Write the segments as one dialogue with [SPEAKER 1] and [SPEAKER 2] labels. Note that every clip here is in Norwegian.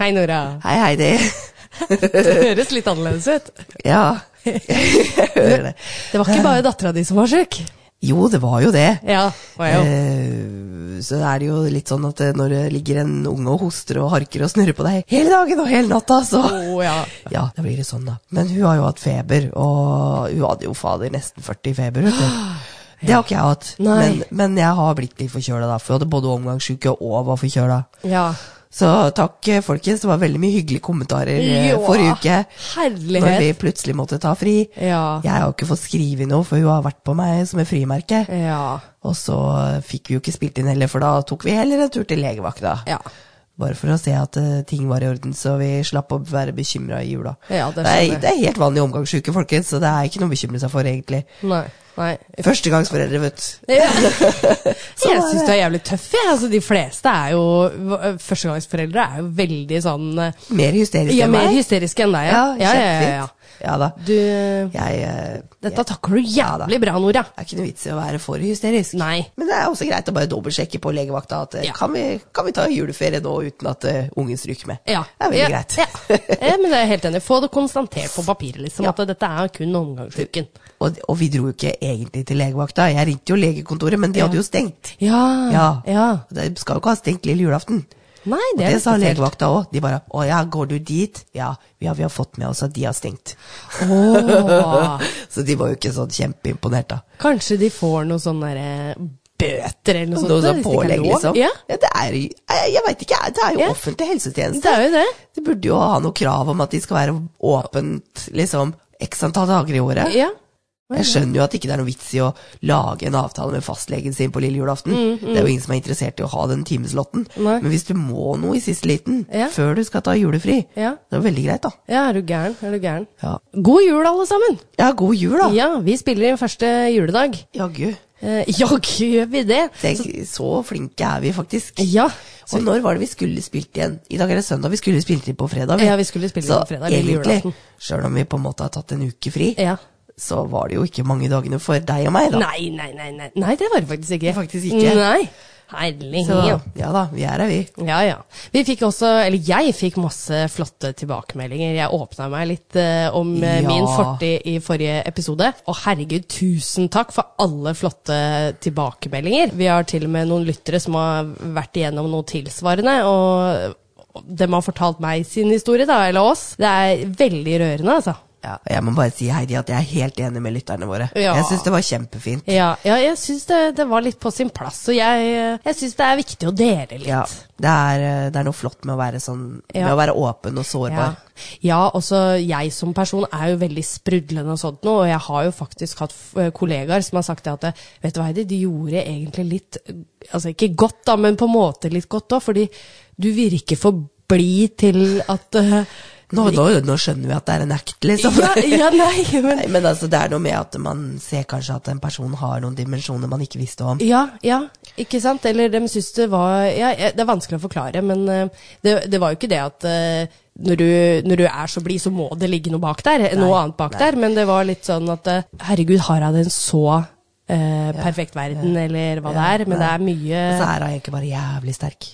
[SPEAKER 1] Hei, Nora.
[SPEAKER 2] Hei, Heidi.
[SPEAKER 1] Det høres litt annerledes ut.
[SPEAKER 2] Ja, jeg hører det.
[SPEAKER 1] Det var ikke bare dattera di som var sjuk.
[SPEAKER 2] Jo, det var jo det.
[SPEAKER 1] Ja, var jo.
[SPEAKER 2] Eh, Så er det jo litt sånn at eh, når det ligger en unge og hoster og harker og snurrer på deg hele dagen og hele natta, så
[SPEAKER 1] Å, Oh, ja.
[SPEAKER 2] Ja, da blir det sånn, da. Men hun har jo hatt feber, og hun hadde jo fader nesten 40 i feber, vet du. Det har ikke jeg hatt,
[SPEAKER 1] Nei.
[SPEAKER 2] men, men jeg har blitt litt forkjøla, da. For jeg hadde både omgangssjuke og var forkjøla.
[SPEAKER 1] ja.
[SPEAKER 2] Så takk, eh, folkens. Det var veldig mye hyggelige kommentarer eh,
[SPEAKER 1] Jo,
[SPEAKER 2] forrige uke. Når vi
[SPEAKER 1] Herlighet.
[SPEAKER 2] plutselig måtte ta fri.
[SPEAKER 1] Ja.
[SPEAKER 2] Jeg har jo ikke fått skrive noe, for hun har vært på meg som et frimerke.
[SPEAKER 1] Ja.
[SPEAKER 2] Og så eh, fikk vi jo ikke spilt inn heller, for da tok vi heller en tur til legevakta.
[SPEAKER 1] Ja.
[SPEAKER 2] Bare for å se at eh, ting var i orden, så vi slapp å være bekymra i jula.
[SPEAKER 1] Ja, det
[SPEAKER 2] det,
[SPEAKER 1] skjønner jeg.
[SPEAKER 2] er, det er helt vanlig omgangssyke, folkens, så det er ikke noe å bekymre seg for, egentlig.
[SPEAKER 1] Nei. Nei.
[SPEAKER 2] Førstegangsforeldre, vet du.
[SPEAKER 1] Ja.
[SPEAKER 2] Sånn
[SPEAKER 1] jeg
[SPEAKER 2] er
[SPEAKER 1] syns
[SPEAKER 2] det.
[SPEAKER 1] du er jævlig tøff, jeg. Altså, de fleste er jo Førstegangsforeldre er jo veldig sånn eh,
[SPEAKER 2] Mer hysterisk
[SPEAKER 1] Ja,
[SPEAKER 2] enn
[SPEAKER 1] mer
[SPEAKER 2] meg.
[SPEAKER 1] hysteriske enn deg. ja,
[SPEAKER 2] Ja,
[SPEAKER 1] ja, ja, ja.
[SPEAKER 2] kjempefint. Ja da.
[SPEAKER 1] Du,
[SPEAKER 2] Jeg, eh,
[SPEAKER 1] dette takler du jævlig bra, Nora.
[SPEAKER 2] Det er ikke noe vits i å være for hysterisk.
[SPEAKER 1] Nei.
[SPEAKER 2] Men det er også greit å bare dobbeltsjekke på legevakta at eh,
[SPEAKER 1] Ja.
[SPEAKER 2] kan, vi, kan vi ta juleferie nå uten at eh, ungen stryker med?
[SPEAKER 1] Ja.
[SPEAKER 2] Det er veldig
[SPEAKER 1] ja,
[SPEAKER 2] greit.
[SPEAKER 1] Ja. Eh, Men jeg er helt enig. Få det konstatert på papiret, liksom,
[SPEAKER 2] Ja.
[SPEAKER 1] at dette er kun omgangsuken.
[SPEAKER 2] og, og vi dro jo ikke egentlig til legevakta. Jeg ringte jo legekontoret, men de hadde jo stengt.
[SPEAKER 1] Ja. ja.
[SPEAKER 2] Ja. Og De skal jo ikke ha stengt lille julaften.
[SPEAKER 1] Nei,
[SPEAKER 2] Og
[SPEAKER 1] det er
[SPEAKER 2] det sa
[SPEAKER 1] litt spesielt.
[SPEAKER 2] legevakta òg. De bare 'Å ja, går du dit?' Ja, vi har, vi har fått med oss at de har stengt.
[SPEAKER 1] Åh.
[SPEAKER 2] Så de var jo ikke sånn kjempeimponert, da.
[SPEAKER 1] Kanskje de får noe sånn derre bøter eller noe sånt.
[SPEAKER 2] Noe
[SPEAKER 1] da,
[SPEAKER 2] sånn
[SPEAKER 1] hvis de ikke har
[SPEAKER 2] pålegg,
[SPEAKER 1] lov.
[SPEAKER 2] liksom.
[SPEAKER 1] Ja.
[SPEAKER 2] Ja, det er, jo- jeg jeg vet ikke, jeg. det er jo
[SPEAKER 1] Ja.
[SPEAKER 2] offentlig helsetjeneste.
[SPEAKER 1] Det er jo det.
[SPEAKER 2] De burde jo ha noe krav om at de skal være åpent liksom, x antall dager i året.
[SPEAKER 1] Ja.
[SPEAKER 2] Jeg skjønner jo at det ikke er noe vits i å lage en avtale med fastlegen sin på lille julaften. Det er jo ingen som er interessert i å ha den timeslotten.
[SPEAKER 1] Mm, Nei.
[SPEAKER 2] Men hvis du må noe i siste liten
[SPEAKER 1] Ja.
[SPEAKER 2] før du skal ta julefri,
[SPEAKER 1] Ja.
[SPEAKER 2] det er jo veldig greit, da.
[SPEAKER 1] ja, er du gæren? Er du gæren?
[SPEAKER 2] Ja,
[SPEAKER 1] God jul, alle sammen!
[SPEAKER 2] ja god jul, da.
[SPEAKER 1] Ja, vi spiller inn første juledag.
[SPEAKER 2] Jaggu.
[SPEAKER 1] Eh, Jaggu gjør vi det!
[SPEAKER 2] Tenk, så flinke er vi faktisk.
[SPEAKER 1] Ja.
[SPEAKER 2] Og når var det vi skulle spilt igjen? I dag er det søndag, vi skulle spilt inn på fredag.
[SPEAKER 1] Ja, vi skulle spilt inn
[SPEAKER 2] Så
[SPEAKER 1] på fredag, lille julaften.
[SPEAKER 2] egentlig, sjøl om vi på en måte har tatt en uke fri,
[SPEAKER 1] ja.
[SPEAKER 2] så var det jo ikke mange dagene for deg og meg, da.
[SPEAKER 1] Nei, nei, nei, nei. Nei, det var det faktisk ikke.
[SPEAKER 2] Faktisk ikke.
[SPEAKER 1] Nei. Herlig.
[SPEAKER 2] Så ja da, vi er her, vi.
[SPEAKER 1] Ja, ja. Vi fikk også, eller jeg fikk masse flotte tilbakemeldinger. Jeg åpna meg litt eh, om eh,
[SPEAKER 2] Ja.
[SPEAKER 1] min fortid i forrige episode. Og herregud, tusen takk for alle flotte tilbakemeldinger. Vi har til og med noen lyttere som har vært igjennom noe tilsvarende. og de har fortalt meg sin historie, da, eller oss. Det er veldig rørende, altså.
[SPEAKER 2] Ja, og jeg må bare si Heidi at jeg er helt enig med lytterne våre.
[SPEAKER 1] Ja.
[SPEAKER 2] Jeg syns det var kjempefint.
[SPEAKER 1] Ja, ja jeg syns det, det var litt på sin plass. Og jeg, eh, jeg syns det er viktig å dele litt.
[SPEAKER 2] Ja, det er, eh, det er noe flott med å være sånn
[SPEAKER 1] Ja.
[SPEAKER 2] Med å være åpen og
[SPEAKER 1] Ja.
[SPEAKER 2] sårbar.
[SPEAKER 1] ja, også jeg som person er jo veldig sprudlende og sånt nå, og jeg har jo faktisk hatt f- eh, kollegaer som har sagt det at eh, vet du hva Heidi, de gjorde egentlig litt, eh, altså ikke godt da, men på en måte litt godt da, fordi du virker for blid til at eh,
[SPEAKER 2] Nå, nå, nå skjønner vi at det er en act, liksom.
[SPEAKER 1] ja, ja, nei, men
[SPEAKER 2] Nei, men altså, det er noe med at man ser kanskje at en person har noen dimensjoner man ikke visste om.
[SPEAKER 1] Ja, ja, ikke sant? Eller de syns det var ja, ja, Det er vanskelig å forklare, men eh, det, det var jo ikke det at eh, når du, når du er så blid, så må det ligge noe bak der. noe annet bak der. Men det var litt sånn at eh, herregud, har hun en så eh, perfekt verden, eller hva det er? Men det er mye
[SPEAKER 2] Og så er hun egentlig bare jævlig sterk.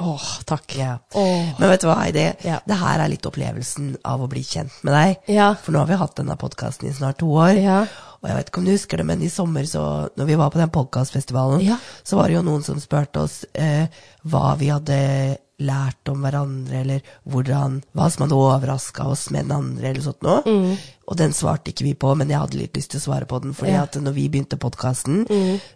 [SPEAKER 1] Åh, takk.
[SPEAKER 2] Altså, Ja.
[SPEAKER 1] Åh.
[SPEAKER 2] Men vet du hva, Heidi?
[SPEAKER 1] Ja.
[SPEAKER 2] Det her er litt opplevelsen av å bli kjent med deg.
[SPEAKER 1] Ja.
[SPEAKER 2] For nå har vi hatt denne podkasten i snart to år.
[SPEAKER 1] Ja.
[SPEAKER 2] Og jeg vet ikke om du husker det, men i sommer, så, når vi var på den podkastfestivalen,
[SPEAKER 1] Ja.
[SPEAKER 2] så var det jo noen som spurte oss eh, hva vi hadde lært om hverandre, eller hvordan, hva som hadde overraska oss med den andre, eller sånt noe.
[SPEAKER 1] Mm.
[SPEAKER 2] Og den svarte ikke vi på, men jeg hadde litt lyst til å svare på den. fordi
[SPEAKER 1] Ja. Mm.
[SPEAKER 2] at når vi begynte podkasten,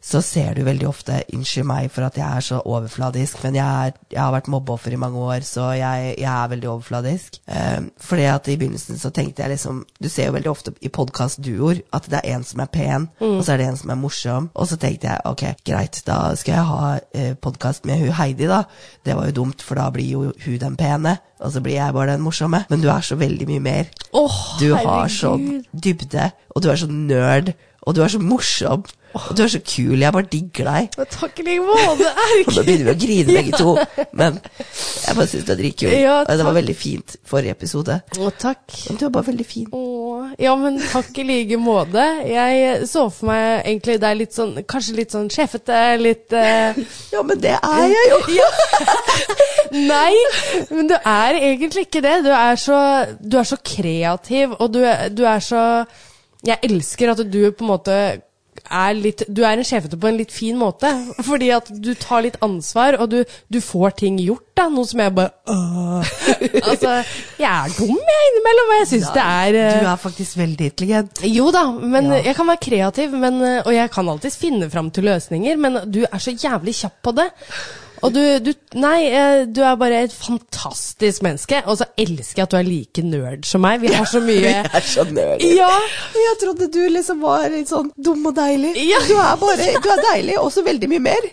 [SPEAKER 2] så ser du veldig ofte Unnskyld meg for at jeg er så overfladisk, men jeg, er, jeg har vært mobbeoffer i mange år, så jeg, jeg er veldig overfladisk. Um, fordi at i begynnelsen så tenkte jeg liksom Du ser jo veldig ofte i podkastduoer at det er en som er pen, og så er det en som er morsom. Og så tenkte jeg ok, greit, da skal jeg ha eh, podkast med hun Heidi, da. Det var jo dumt, for da blir jo hun den pene, og så blir jeg bare den morsomme. Men du er så veldig mye mer.
[SPEAKER 1] Åh,
[SPEAKER 2] Du har
[SPEAKER 1] herregud.
[SPEAKER 2] sånn dybde, og du er så nerd, og du er så morsom, og du er så kul. Jeg bare digger deg.
[SPEAKER 1] Men Takk i like måte,
[SPEAKER 2] Og nå
[SPEAKER 1] Erk.
[SPEAKER 2] begynner vi å grine begge to, men jeg bare syns du er dritkul.
[SPEAKER 1] Ja,
[SPEAKER 2] og det var
[SPEAKER 1] takk.
[SPEAKER 2] veldig fint forrige episode.
[SPEAKER 1] Å, takk.
[SPEAKER 2] Men Du er bare veldig fin.
[SPEAKER 1] Åh, ja, men takk i like måte. Jeg så for meg egentlig deg litt sånn, kanskje litt sånn sjefete, litt eh,
[SPEAKER 2] Ja, men det er jeg jo!
[SPEAKER 1] Ja. Nei, men du er egentlig ikke det. Du er så, du er så kreativ, og du, er- du er så Jeg elsker at du på en måte er litt Du er en sjefete på en litt fin måte. Fordi at du tar litt ansvar, og du, du får ting gjort, da. Noe som jeg bare øh. Altså, jeg er dum, jeg, innimellom, og jeg syns det er eh,
[SPEAKER 2] Du er faktisk veldig intelligent.
[SPEAKER 1] jo da, men
[SPEAKER 2] Ja.
[SPEAKER 1] jeg kan være kreativ, men, eh, og jeg kan alltids finne fram til løsninger, men du er så jævlig kjapp på det. Og du, du Nei, eh, du er bare et fantastisk menneske, og så elsker jeg at du er like nerd som meg. Vi har så
[SPEAKER 2] Vi
[SPEAKER 1] mye
[SPEAKER 2] er så nerdy.
[SPEAKER 1] Ja!
[SPEAKER 2] Jeg trodde du liksom var litt sånn dum og deilig.
[SPEAKER 1] Ja.
[SPEAKER 2] Du er bare du er deilig, og så veldig mye mer.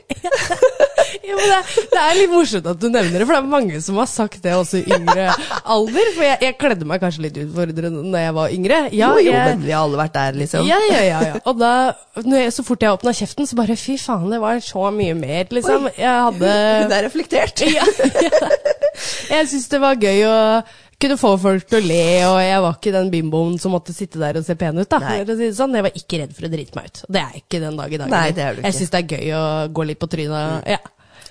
[SPEAKER 1] ja men det, det er litt morsomt at du nevner det, for det er mange som har sagt det også i yngre alder. For jeg, jeg kledde meg kanskje litt utfordrende da jeg var yngre. Ja,
[SPEAKER 2] Jo, jo,
[SPEAKER 1] jeg,
[SPEAKER 2] men vi har alle vært der, liksom.
[SPEAKER 1] Ja, ja, ja, ja. Og da, når jeg, så fort jeg åpna kjeften, så bare fy faen, det var så mye mer, liksom. Jeg hadde
[SPEAKER 2] Hun er reflektert.
[SPEAKER 1] ja, ja. Jeg syns det var gøy å kunne få folk til å le, og jeg var ikke den bimboen som måtte sitte der og se pen ut. da.
[SPEAKER 2] Nei.
[SPEAKER 1] For å si det sånn. Jeg var ikke redd for å drite meg ut. Og Det er jeg ikke den dag i dag.
[SPEAKER 2] Nei, det er du ikke. Mm.
[SPEAKER 1] Jeg syns det er gøy å gå litt på trynet. Ja.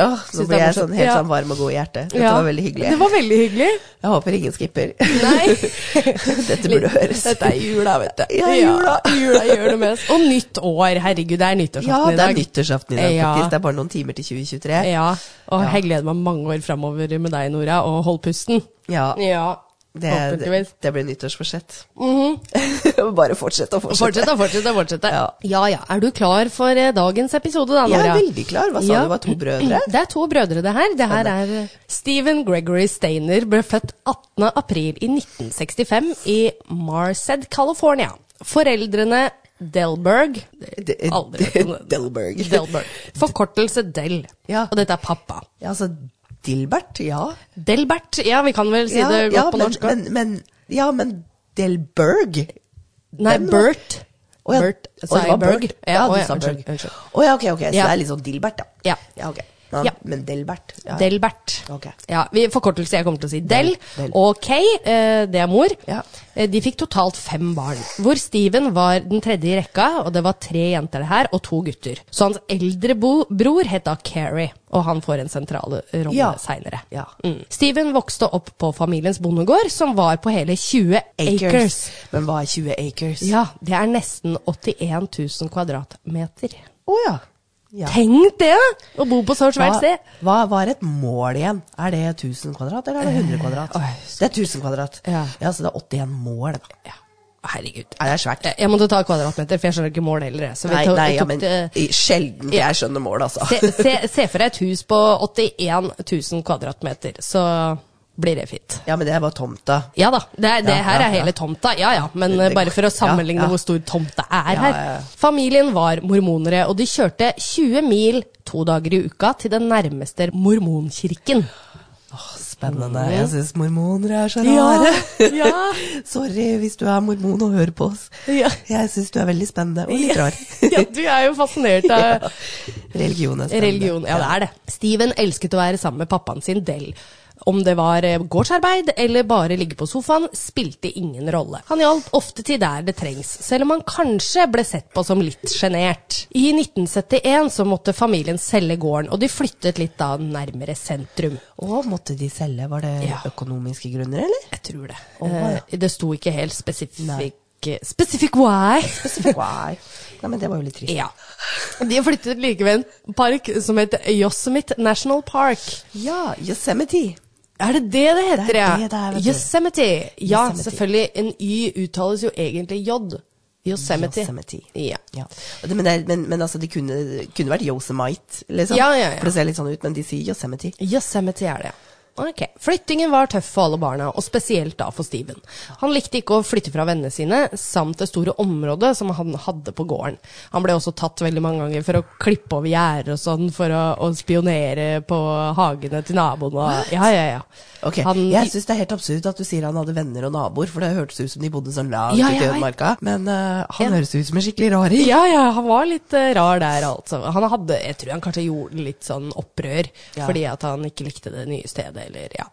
[SPEAKER 2] Åh, nå
[SPEAKER 1] Synes det
[SPEAKER 2] ble
[SPEAKER 1] er
[SPEAKER 2] jeg
[SPEAKER 1] morsomt.
[SPEAKER 2] sånn helt
[SPEAKER 1] Ja.
[SPEAKER 2] sånn varm og god i hjertet. Dette
[SPEAKER 1] Ja.
[SPEAKER 2] var veldig hyggelig.
[SPEAKER 1] Det var veldig hyggelig.
[SPEAKER 2] Jeg håper ingen skipper.
[SPEAKER 1] Nei.
[SPEAKER 2] Dette burde høres.
[SPEAKER 1] Dette er jula, vet du.
[SPEAKER 2] Ja, jula.
[SPEAKER 1] jula gjør det mest. Og nytt år. Herregud, det er nyttårsaften
[SPEAKER 2] Ja,
[SPEAKER 1] i
[SPEAKER 2] det er
[SPEAKER 1] dag.
[SPEAKER 2] nyttårsaften i dag,
[SPEAKER 1] Ja.
[SPEAKER 2] faktisk. Det er bare noen timer til 2023.
[SPEAKER 1] Ja, og
[SPEAKER 2] Ja.
[SPEAKER 1] jeg gleder meg mange år framover med deg, Nora, og hold pusten.
[SPEAKER 2] Ja,
[SPEAKER 1] Ja,
[SPEAKER 2] det, det,
[SPEAKER 1] forhåpentligvis. Mhm.
[SPEAKER 2] det blir nyttårsforsett. Bare fortsett og fortsette.
[SPEAKER 1] Fortsett, da, fortsett, da, fortsett. da.
[SPEAKER 2] Ja.
[SPEAKER 1] ja ja. Er du klar for eh, dagens episode, da,
[SPEAKER 2] Jeg
[SPEAKER 1] Nora?
[SPEAKER 2] er veldig klar. Hva sa
[SPEAKER 1] Ja.
[SPEAKER 2] du, var to brødre?
[SPEAKER 1] Det er to brødre, det her. Det her er eh, Stephen Gregory Stainer ble født 18. april i 1965 i Marced, California. Foreldrene Delberg
[SPEAKER 2] De-
[SPEAKER 1] Aldri hørt om det.
[SPEAKER 2] Delberg.
[SPEAKER 1] Delberg. Forkortelse Del.
[SPEAKER 2] Ja.
[SPEAKER 1] Og dette er pappa.
[SPEAKER 2] Ja, altså, Dilbert, ja.
[SPEAKER 1] Delbert, ja, vi kan vel si
[SPEAKER 2] ja,
[SPEAKER 1] det godt
[SPEAKER 2] ja,
[SPEAKER 1] på
[SPEAKER 2] men,
[SPEAKER 1] norsk. også.
[SPEAKER 2] men, men, ja, men Delberg?
[SPEAKER 1] Nei,
[SPEAKER 2] Den var-
[SPEAKER 1] Bert.
[SPEAKER 2] Å, ja.
[SPEAKER 1] Bert,
[SPEAKER 2] Å, det
[SPEAKER 1] sa jeg
[SPEAKER 2] var Berg.
[SPEAKER 1] Berg?
[SPEAKER 2] Ja,
[SPEAKER 1] å,
[SPEAKER 2] du sa Berg.
[SPEAKER 1] unnskyld, unnskyld.
[SPEAKER 2] Å ja, ok, ok. Så
[SPEAKER 1] Ja.
[SPEAKER 2] det er litt sånn Dilbert, da.
[SPEAKER 1] Ja.
[SPEAKER 2] ja ok. Ja,
[SPEAKER 1] Ja.
[SPEAKER 2] Men Delbert. Ja.
[SPEAKER 1] Delbert.
[SPEAKER 2] Ok.
[SPEAKER 1] Ja, vi, forkortelse jeg kommer til å si. Del,
[SPEAKER 2] Del.
[SPEAKER 1] og Kay, eh, det er mor.
[SPEAKER 2] Ja.
[SPEAKER 1] Eh, De fikk totalt fem barn, hvor Steven var den tredje i rekka, og det var tre jenter det her, og to gutter. Så hans eldre bo bror het da Carrie, og han får en sentral rolle
[SPEAKER 2] Ja.
[SPEAKER 1] seinere.
[SPEAKER 2] Ja.
[SPEAKER 1] Mm. Steven vokste opp på familiens bondegård, som var på hele 20
[SPEAKER 2] Acres.
[SPEAKER 1] acres.
[SPEAKER 2] Men hva er 20 acres?
[SPEAKER 1] Ja, det er nesten 81 000 kvadratmeter.
[SPEAKER 2] Å ja. ja.
[SPEAKER 1] Tenk det! Å bo på så svært
[SPEAKER 2] Hva,
[SPEAKER 1] sted.
[SPEAKER 2] hva, hva er et mål igjen? Er det 1000 kvadrat, eller er det 100 kvadrat?
[SPEAKER 1] Eh, oi.
[SPEAKER 2] Det er 1000 kvadrat.
[SPEAKER 1] Ja.
[SPEAKER 2] så det er 81 mål. da.
[SPEAKER 1] Ja. Herregud.
[SPEAKER 2] Nei, det er svært.
[SPEAKER 1] Eh, Jeg jeg måtte ta kvadratmeter, for jeg skjønner ikke mål heller. jeg. Så vi
[SPEAKER 2] Nei,
[SPEAKER 1] tok,
[SPEAKER 2] nei ja,
[SPEAKER 1] tok
[SPEAKER 2] men
[SPEAKER 1] det-
[SPEAKER 2] i- sjelden jeg skjønner mål, altså.
[SPEAKER 1] se, se, se for deg et hus på 81 000 kvadratmeter, så blir det fint.
[SPEAKER 2] Ja, men det er bare tomta.
[SPEAKER 1] Ja da, det, er- det
[SPEAKER 2] Ja,
[SPEAKER 1] her
[SPEAKER 2] ja,
[SPEAKER 1] er hele
[SPEAKER 2] ja.
[SPEAKER 1] tomta. Ja ja, men eh, bare for å sammenligne
[SPEAKER 2] Ja, ja.
[SPEAKER 1] hvor stor tomta er
[SPEAKER 2] Ja,
[SPEAKER 1] her.
[SPEAKER 2] ja, ja.
[SPEAKER 1] Familien var mormonere, og de kjørte 20 mil to dager i uka til den nærmeste mormonkirken.
[SPEAKER 2] Spennende. Jeg syns mormoner er så
[SPEAKER 1] Ja,
[SPEAKER 2] rare.
[SPEAKER 1] ja.
[SPEAKER 2] Sorry hvis du er mormon og hører på oss.
[SPEAKER 1] Ja.
[SPEAKER 2] Jeg syns du er veldig spennende og litt rar.
[SPEAKER 1] ja, du er jo fascinert av
[SPEAKER 2] Religion er spennende.
[SPEAKER 1] Religion, ja det er det. Steven elsket å være sammen med pappaen sin Del. Om det var eh, gårdsarbeid eller bare ligge på sofaen, spilte ingen rolle. Han hjalp ofte til der det trengs, selv om han kanskje ble sett på som litt sjenert. I 1971 så måtte familien selge gården, og de flyttet litt da nærmere sentrum.
[SPEAKER 2] Og måtte de selge? Var det
[SPEAKER 1] Ja.
[SPEAKER 2] økonomiske grunner, eller?
[SPEAKER 1] Jeg tror det.
[SPEAKER 2] Å, ja.
[SPEAKER 1] Eh, Det sto ikke helt spesifikt Specific, specific why.
[SPEAKER 2] Why? Nei, men det var jo litt trist.
[SPEAKER 1] Ja. De har flyttet like ved en park som heter Yosemite National Park.
[SPEAKER 2] Ja, Yosemite.
[SPEAKER 1] Er det det det heter,
[SPEAKER 2] Det er
[SPEAKER 1] ja?
[SPEAKER 2] det det er, vet du.
[SPEAKER 1] Yosemite. Ja,
[SPEAKER 2] Yosemite.
[SPEAKER 1] selvfølgelig. En Y uttales jo egentlig J. Yosemite.
[SPEAKER 2] Yosemite.
[SPEAKER 1] Ja.
[SPEAKER 2] Ja. Og det- Men, det, er- men, men altså, det kunne, kunne vært Yosemite, liksom.
[SPEAKER 1] Ja, ja, ja.
[SPEAKER 2] For det ser litt sånn ut, men de sier Yosemite.
[SPEAKER 1] Yosemite er det, ja. Ok. Flyttingen var tøff for alle barna, og spesielt da for Steven. Han likte ikke å flytte fra vennene sine, samt det store området som han hadde på gården. Han ble også tatt veldig mange ganger for å klippe over gjerder og sånn, for å, å spionere på hagene til naboen og Ja, ja, ja.
[SPEAKER 2] Ok,
[SPEAKER 1] Han-
[SPEAKER 2] Jeg syns det er helt absurd at du sier han hadde venner og naboer, for det hørtes ut som de bodde sånn langt
[SPEAKER 1] Ja,
[SPEAKER 2] ute i
[SPEAKER 1] jeg vet.
[SPEAKER 2] ødemarka. Men eh, han
[SPEAKER 1] En-
[SPEAKER 2] høres ut som en skikkelig raring.
[SPEAKER 1] Ja, ja, han var litt eh, rar der, altså. Han hadde, jeg tror han kanskje gjorde litt sånn opprør,
[SPEAKER 2] Ja.
[SPEAKER 1] fordi at han ikke likte det nye stedet, eller ja.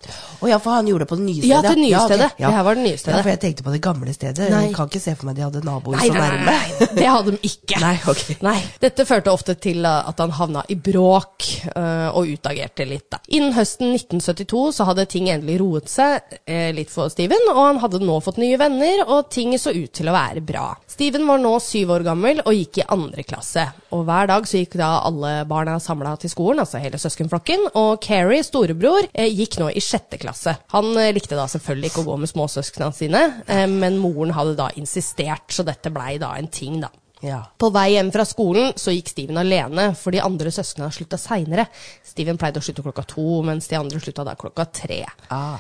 [SPEAKER 2] Å ja, for han gjorde det på det nye stedet.
[SPEAKER 1] Ja, til det nye
[SPEAKER 2] ok,
[SPEAKER 1] stedet. Det her var det nye
[SPEAKER 2] Ja,
[SPEAKER 1] stedet.
[SPEAKER 2] for jeg tenkte på det gamle stedet.
[SPEAKER 1] Nei.
[SPEAKER 2] Jeg kan ikke se for meg de hadde naboer så nærme.
[SPEAKER 1] det hadde de ikke.
[SPEAKER 2] Nei, ok.
[SPEAKER 1] Nei. Dette førte ofte til eh, at han havna i bråk eh, og utagerte litt. Da. Innen høsten 1972 så hadde ting endelig roet seg eh, litt for Steven, og han hadde nå fått nye venner, og ting så ut til å være bra. Steven var nå syv år gammel og gikk i andre klasse. Og hver dag så gikk da alle barna samla til skolen, altså hele søskenflokken, og Carrie, storebror, eh, gikk nå i sjette klasse. Han eh, likte da selvfølgelig ikke å gå med småsøsknene sine, eh, men moren hadde da insistert, så dette blei da en ting, da.
[SPEAKER 2] Ja.
[SPEAKER 1] På vei hjem fra skolen så gikk Steven alene, for de andre søsknene slutta seinere. Steven pleide å slutte klokka to, mens de andre slutta da klokka tre.
[SPEAKER 2] Ah.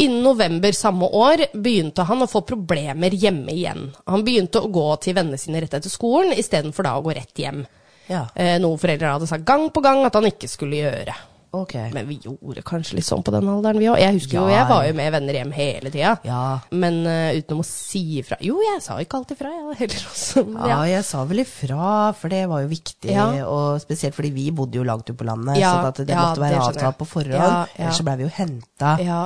[SPEAKER 1] Innen november samme år begynte han å få problemer hjemme igjen. Han begynte å gå til vennene sine rett etter skolen, istedenfor da å gå rett hjem.
[SPEAKER 2] Ja.
[SPEAKER 1] Eh, noe foreldre hadde sagt gang på gang at han ikke skulle gjøre.
[SPEAKER 2] Ok.
[SPEAKER 1] Men vi gjorde kanskje litt sånn på den alderen, vi òg. Jeg husker jo,
[SPEAKER 2] Ja.
[SPEAKER 1] jeg var jo med venner hjem hele tida.
[SPEAKER 2] Ja.
[SPEAKER 1] Men eh, utenom å si ifra Jo, jeg sa ikke alltid fra, jeg heller altså. også. Men
[SPEAKER 2] ja, jeg sa vel ifra, for det var jo viktig.
[SPEAKER 1] Ja.
[SPEAKER 2] Og spesielt fordi vi bodde jo langt ute på landet,
[SPEAKER 1] Ja,
[SPEAKER 2] sånn at det
[SPEAKER 1] ja,
[SPEAKER 2] måtte være
[SPEAKER 1] det skjønner jeg.
[SPEAKER 2] avtalt på forhånd.
[SPEAKER 1] Ja, ja.
[SPEAKER 2] Ellers så blei vi jo henta.
[SPEAKER 1] Ja.